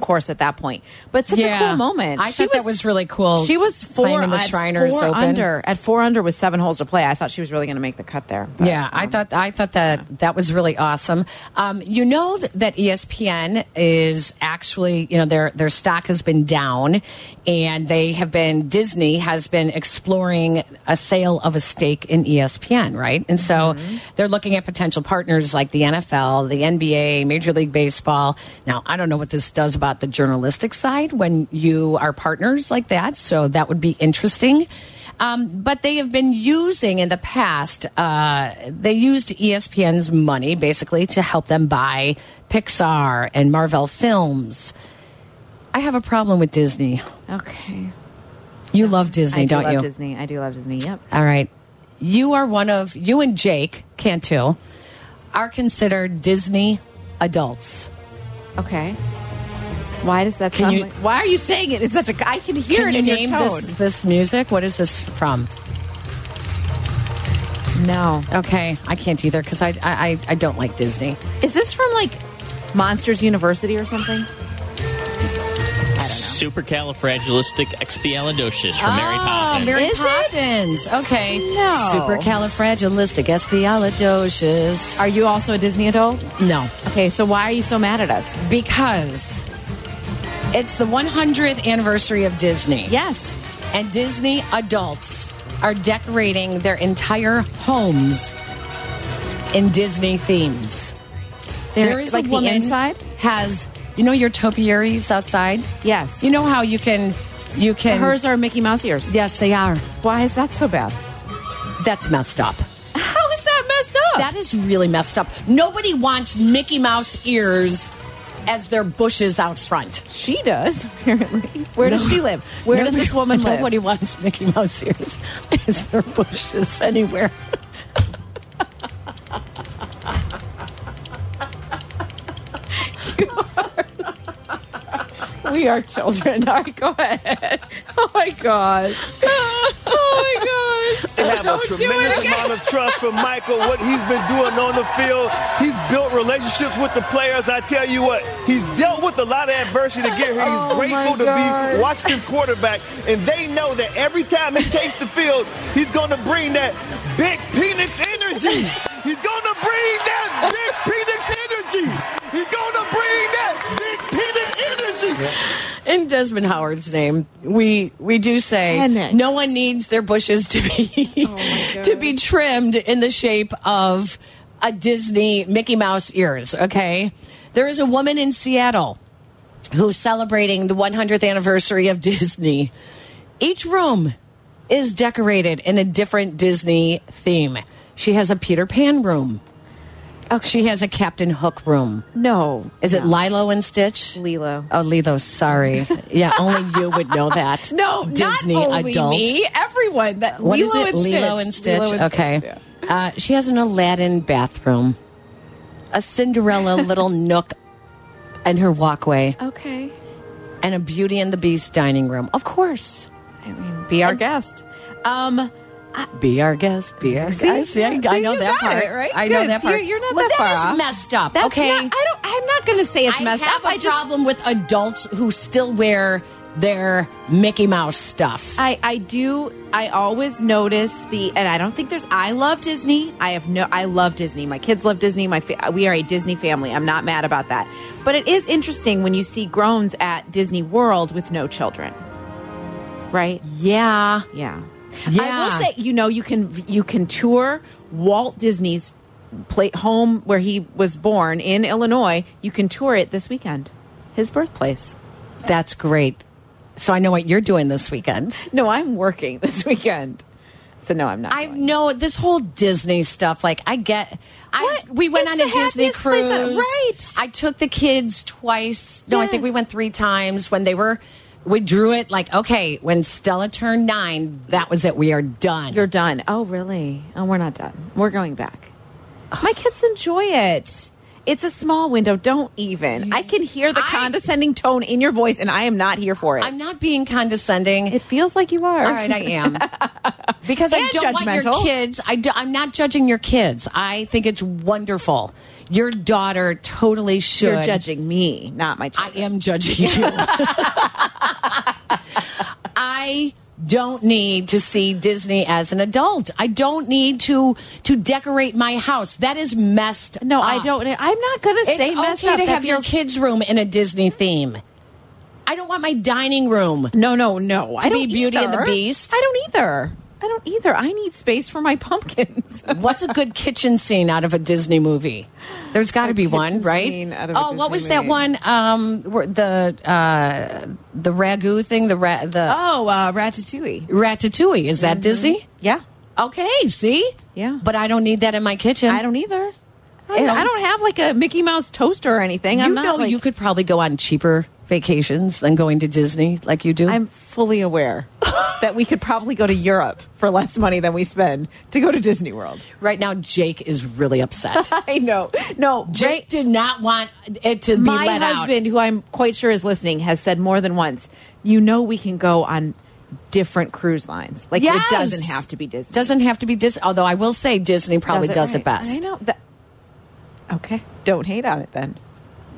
[SPEAKER 5] course at that point but such
[SPEAKER 4] Yeah.
[SPEAKER 5] a cool moment
[SPEAKER 4] I thought that was really cool,
[SPEAKER 5] she was four
[SPEAKER 4] playing the
[SPEAKER 5] at
[SPEAKER 4] Shriners
[SPEAKER 5] four
[SPEAKER 4] Open.
[SPEAKER 5] under at four under with seven holes to play i thought she was really going to make the cut there but,
[SPEAKER 4] Yeah, I
[SPEAKER 5] um,
[SPEAKER 4] thought I thought that that was really awesome. Um, you know th- that E ESPN is actually, you know, their their stock has been down, and they have been Disney has been exploring a sale of a stake in E ESPN, right? And so they're looking at potential partners like the NFL, the NBA, Major League Baseball. Now, I don't know what this does about the journalistic side when you are partners like that, so that would be interesting. Um, but they have been using in the past, uh, they used ESPN's money basically to help them buy Pixar and Marvel films. I have a problem with Disney.
[SPEAKER 5] okay
[SPEAKER 4] You love Disney,
[SPEAKER 5] I do
[SPEAKER 4] not
[SPEAKER 5] love
[SPEAKER 4] you?
[SPEAKER 5] Disney. I do love Disney. Yep.
[SPEAKER 4] All right. You are one of, you and Jake Cantu are considered Disney adults.
[SPEAKER 5] Okay. Why does that
[SPEAKER 4] Can
[SPEAKER 5] sound
[SPEAKER 4] you-
[SPEAKER 5] like- Why are you saying it? It's such a. I can hear
[SPEAKER 4] Can
[SPEAKER 5] it
[SPEAKER 4] you
[SPEAKER 5] in
[SPEAKER 4] name
[SPEAKER 5] your
[SPEAKER 4] this,
[SPEAKER 5] tone.
[SPEAKER 4] this music? What is this from?
[SPEAKER 5] No.
[SPEAKER 4] Okay, I can't either because I, I, I- I don't like Disney.
[SPEAKER 5] Is this from like Monsters University or something?
[SPEAKER 9] Supercalifragilisticexpialidocious from Mary
[SPEAKER 5] Ah,
[SPEAKER 9] Poppins.
[SPEAKER 4] Oh, Mary
[SPEAKER 5] Is it?
[SPEAKER 4] Poppins. Okay.
[SPEAKER 5] No.
[SPEAKER 4] Supercalifragilisticexpialidocious.
[SPEAKER 5] Are you also a Disney adult?
[SPEAKER 4] No,
[SPEAKER 5] Okay, so why are you so mad at us?
[SPEAKER 4] because it's the 100th anniversary of Disney.
[SPEAKER 5] Yes.
[SPEAKER 4] And Disney adults are decorating their entire homes in Disney themes. there is
[SPEAKER 5] like
[SPEAKER 4] a woman
[SPEAKER 5] the inside.
[SPEAKER 4] has you know your topiaries outside.
[SPEAKER 5] Yes.
[SPEAKER 4] You know how you can you can
[SPEAKER 5] hers are Mickey Mouse ears.
[SPEAKER 4] Yes, they are.
[SPEAKER 5] Why is that so bad?
[SPEAKER 4] That's messed up.
[SPEAKER 5] How is that messed up?
[SPEAKER 4] That is really messed up. Nobody wants Mickey Mouse ears as their bushes out front.
[SPEAKER 5] She does, apparently. Where does she live? Where does this woman live?
[SPEAKER 4] Nobody wants Mickey Mouse ears as their bushes anywhere.
[SPEAKER 5] We are children. All right, go ahead. Oh my gosh. Oh my gosh.
[SPEAKER 6] They have
[SPEAKER 5] Don't
[SPEAKER 6] a
[SPEAKER 5] do it
[SPEAKER 6] tremendous
[SPEAKER 5] again.
[SPEAKER 6] amount of trust from Michael, what he's been doing on the field. He's built relationships with the players. I tell you what, he's dealt with a lot of adversity to get here. He's
[SPEAKER 5] Oh,
[SPEAKER 6] grateful
[SPEAKER 5] my
[SPEAKER 6] to
[SPEAKER 5] God.
[SPEAKER 6] be Washington's quarterback. And they know that every time he takes the field, he's going to bring that big penis energy. He's going to bring that big penis energy. He's going to bring that big penis energy.
[SPEAKER 4] In Desmond Howard's name, we we do say
[SPEAKER 5] Pennant.
[SPEAKER 4] no one needs their bushes to be to be trimmed in the shape of a Disney Mickey Mouse ears. Okay, there is a woman in Seattle who's celebrating the 100th anniversary of Disney. Each room is decorated in a different Disney theme. She has a Peter Pan room. She has a Captain Hook room.
[SPEAKER 5] No.
[SPEAKER 4] Is it Lilo and Stitch?
[SPEAKER 5] Lilo.
[SPEAKER 4] Oh, Lilo. Sorry. Yeah, only you would know that.
[SPEAKER 5] No,
[SPEAKER 4] Disney
[SPEAKER 5] not only
[SPEAKER 4] adult.
[SPEAKER 5] me. Everyone. That
[SPEAKER 4] What is
[SPEAKER 5] Lilo
[SPEAKER 4] it?
[SPEAKER 5] And
[SPEAKER 4] Lilo
[SPEAKER 5] Stitch.
[SPEAKER 4] and Stitch.
[SPEAKER 5] Lilo and
[SPEAKER 4] okay.
[SPEAKER 5] Stitch,
[SPEAKER 4] uh, she has an Aladdin bathroom, a Cinderella little nook, and her walkway,
[SPEAKER 5] yeah. Okay.
[SPEAKER 4] and a Beauty and the Beast dining room. Of course.
[SPEAKER 5] I mean, be our guest. Um,
[SPEAKER 4] Be our guest. Be our
[SPEAKER 5] see,
[SPEAKER 4] guest. I, I
[SPEAKER 5] see,
[SPEAKER 4] know
[SPEAKER 5] you
[SPEAKER 4] that
[SPEAKER 5] got
[SPEAKER 4] part.
[SPEAKER 5] it, right?
[SPEAKER 4] I
[SPEAKER 5] Good.
[SPEAKER 4] know that
[SPEAKER 5] So you're-
[SPEAKER 4] part.
[SPEAKER 5] you're not
[SPEAKER 4] well,
[SPEAKER 5] that far
[SPEAKER 4] is
[SPEAKER 5] off.
[SPEAKER 4] messed up.
[SPEAKER 5] that's
[SPEAKER 4] okay.
[SPEAKER 5] not- I don't. I'm not going to say it's
[SPEAKER 4] I
[SPEAKER 5] messed
[SPEAKER 4] have
[SPEAKER 5] up.
[SPEAKER 4] a
[SPEAKER 5] I just.
[SPEAKER 4] problem with adults who still wear their Mickey Mouse stuff.
[SPEAKER 5] I, I do I always notice the and I don't think there's I love Disney. I have no I love Disney. My kids love Disney. My fa- we are a Disney family. I'm not mad about that. But it is interesting when you see groans at Disney World with no children. Right?
[SPEAKER 4] yeah.
[SPEAKER 5] Yeah. I
[SPEAKER 4] Yeah.
[SPEAKER 5] will say, you know, you can you can tour Walt Disney's play, home where he was born in Illinois. You can tour it this weekend. His birthplace.
[SPEAKER 4] That's great. So I know what you're doing this weekend.
[SPEAKER 5] No, I'm working this weekend. So no, I'm not.
[SPEAKER 4] I
[SPEAKER 5] going.
[SPEAKER 4] know this whole Disney stuff. Like I get, I
[SPEAKER 5] What?
[SPEAKER 4] we went
[SPEAKER 5] It's
[SPEAKER 4] on
[SPEAKER 5] the
[SPEAKER 4] a Disney
[SPEAKER 5] happiest place
[SPEAKER 4] cruise.
[SPEAKER 5] on- right.
[SPEAKER 4] I took the kids twice. No, I think we
[SPEAKER 5] Yes.
[SPEAKER 4] went three times when they were. We drew it like okay. When Stella turned nine, that was it. We are done.
[SPEAKER 5] You're done. Oh, really? Oh, we're not done. We're going back. My kids enjoy it. It's a small window. Don't even. I can hear the
[SPEAKER 4] I-
[SPEAKER 5] condescending tone in your voice, and I am not here for it.
[SPEAKER 4] I'm not being condescending.
[SPEAKER 5] it feels like you are.
[SPEAKER 4] All right, I am. Because I
[SPEAKER 5] And
[SPEAKER 4] don't want your
[SPEAKER 5] judgmental.
[SPEAKER 4] kids. I do, I'm not judging your kids. I think it's wonderful. Your daughter totally should.
[SPEAKER 5] You're judging me, not my
[SPEAKER 4] I
[SPEAKER 5] children.
[SPEAKER 4] am judging you. I don't need to see Disney as an adult. I don't need to to decorate my house. That is messed.
[SPEAKER 5] No, I
[SPEAKER 4] up.
[SPEAKER 5] don't. I'm not going to
[SPEAKER 4] Ah. It's
[SPEAKER 5] say messed
[SPEAKER 4] okay
[SPEAKER 5] up.
[SPEAKER 4] to
[SPEAKER 5] That
[SPEAKER 4] have your
[SPEAKER 5] feels-
[SPEAKER 4] kids' room in a Disney theme. I don't want my dining room.
[SPEAKER 5] No, no, no.
[SPEAKER 4] be
[SPEAKER 5] I don't
[SPEAKER 4] Beauty and the
[SPEAKER 5] either.
[SPEAKER 4] Beast.
[SPEAKER 5] I don't either. I don't either. I need space for my pumpkins.
[SPEAKER 4] What's a good kitchen scene out of a Disney movie? There's got to be one,
[SPEAKER 5] kitchen
[SPEAKER 4] right?
[SPEAKER 5] scene out of a
[SPEAKER 4] oh, what
[SPEAKER 5] Disney
[SPEAKER 4] was that
[SPEAKER 5] movie.
[SPEAKER 4] one? Um, where the uh, the ragu thing, the ra- the
[SPEAKER 5] oh, uh, Ratatouille.
[SPEAKER 4] ratatouille. Is that Disney?
[SPEAKER 5] Yeah,
[SPEAKER 4] Okay, see?
[SPEAKER 5] Yeah.
[SPEAKER 4] But I don't need that in my kitchen.
[SPEAKER 5] I don't either. I
[SPEAKER 4] know.
[SPEAKER 5] don't, I don't have like a Mickey Mouse toaster or anything. I'm
[SPEAKER 4] You
[SPEAKER 5] not
[SPEAKER 4] know,
[SPEAKER 5] like-
[SPEAKER 4] you could probably go on cheaper vacations than going to Disney like you do.
[SPEAKER 5] I'm fully aware that we could probably go to Europe for less money than we spend to go to Disney World.
[SPEAKER 4] right now, Jake is really upset.
[SPEAKER 5] I know. No,
[SPEAKER 4] Jake did not want it to be
[SPEAKER 5] my
[SPEAKER 4] let
[SPEAKER 5] husband, who I'm quite sure is listening, has said more than once, you know, we can go on different cruise lines. Like,
[SPEAKER 4] out. Yes.
[SPEAKER 5] it doesn't have to be Disney.
[SPEAKER 4] Doesn't have to be Disney. Although I will say Disney probably does it,
[SPEAKER 5] right.
[SPEAKER 4] best.
[SPEAKER 5] I know. That, okay. Don't hate on it then.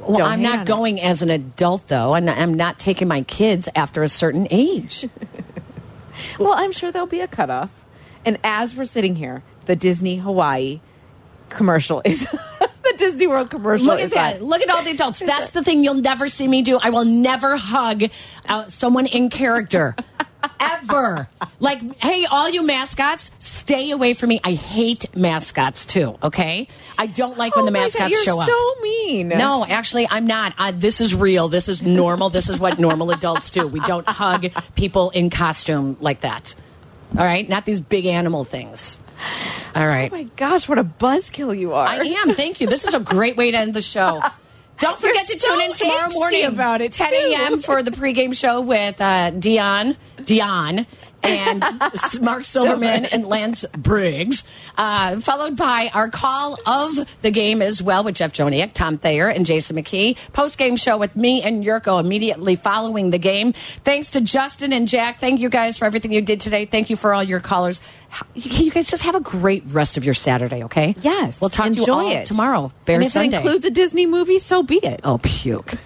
[SPEAKER 4] Well,
[SPEAKER 5] Don't
[SPEAKER 4] I'm
[SPEAKER 5] hate
[SPEAKER 4] not
[SPEAKER 5] on it.
[SPEAKER 4] going as an adult though, and I'm not taking my kids after a certain age.
[SPEAKER 5] Well, I'm sure there'll be a cutoff. And as we're sitting here, the Disney Hawaii commercial is the Disney World commercial.
[SPEAKER 4] Look at
[SPEAKER 5] is
[SPEAKER 4] that.
[SPEAKER 5] on.
[SPEAKER 4] Look at all the adults. That's the thing you'll never see me do. I will never hug uh, someone in character. Ever. Like, hey, all you mascots, stay away from me. I hate mascots too, okay? I don't like when
[SPEAKER 5] Oh
[SPEAKER 4] the
[SPEAKER 5] my God,
[SPEAKER 4] mascots
[SPEAKER 5] you're
[SPEAKER 4] show up.
[SPEAKER 5] so mean.
[SPEAKER 4] No, actually, I'm not. Uh, this is real. This is normal. This is what normal adults do. We don't hug people in costume like that. All right? Not these big animal things. All right.
[SPEAKER 5] Oh my gosh, what a buzzkill you are.
[SPEAKER 4] I am. Thank you. This is a great way to end the show. Don't forget to
[SPEAKER 5] so
[SPEAKER 4] tune in tomorrow
[SPEAKER 5] angsty
[SPEAKER 4] morning
[SPEAKER 5] about it,
[SPEAKER 4] 10
[SPEAKER 5] too.
[SPEAKER 4] a.m. for the pregame show with uh, Dion, Dion, and S- Mark Silverman and Lance Briggs, uh, followed by our call of the game as well with Jeff Joniak, Tom Thayer, and Jason McKee. Post game show with me and Yurko immediately following the game. Thanks to Justin and Jack. Thank you guys for everything you did today. Thank you for all your callers. How- You you guys just have a great rest of your Saturday, okay?
[SPEAKER 5] Yes.
[SPEAKER 4] We'll talk
[SPEAKER 5] enjoy
[SPEAKER 4] to you all
[SPEAKER 5] it.
[SPEAKER 4] tomorrow. Oh, Bear
[SPEAKER 5] and if
[SPEAKER 4] Sunday.
[SPEAKER 5] it includes a Disney movie, so be it.
[SPEAKER 4] Oh, puke.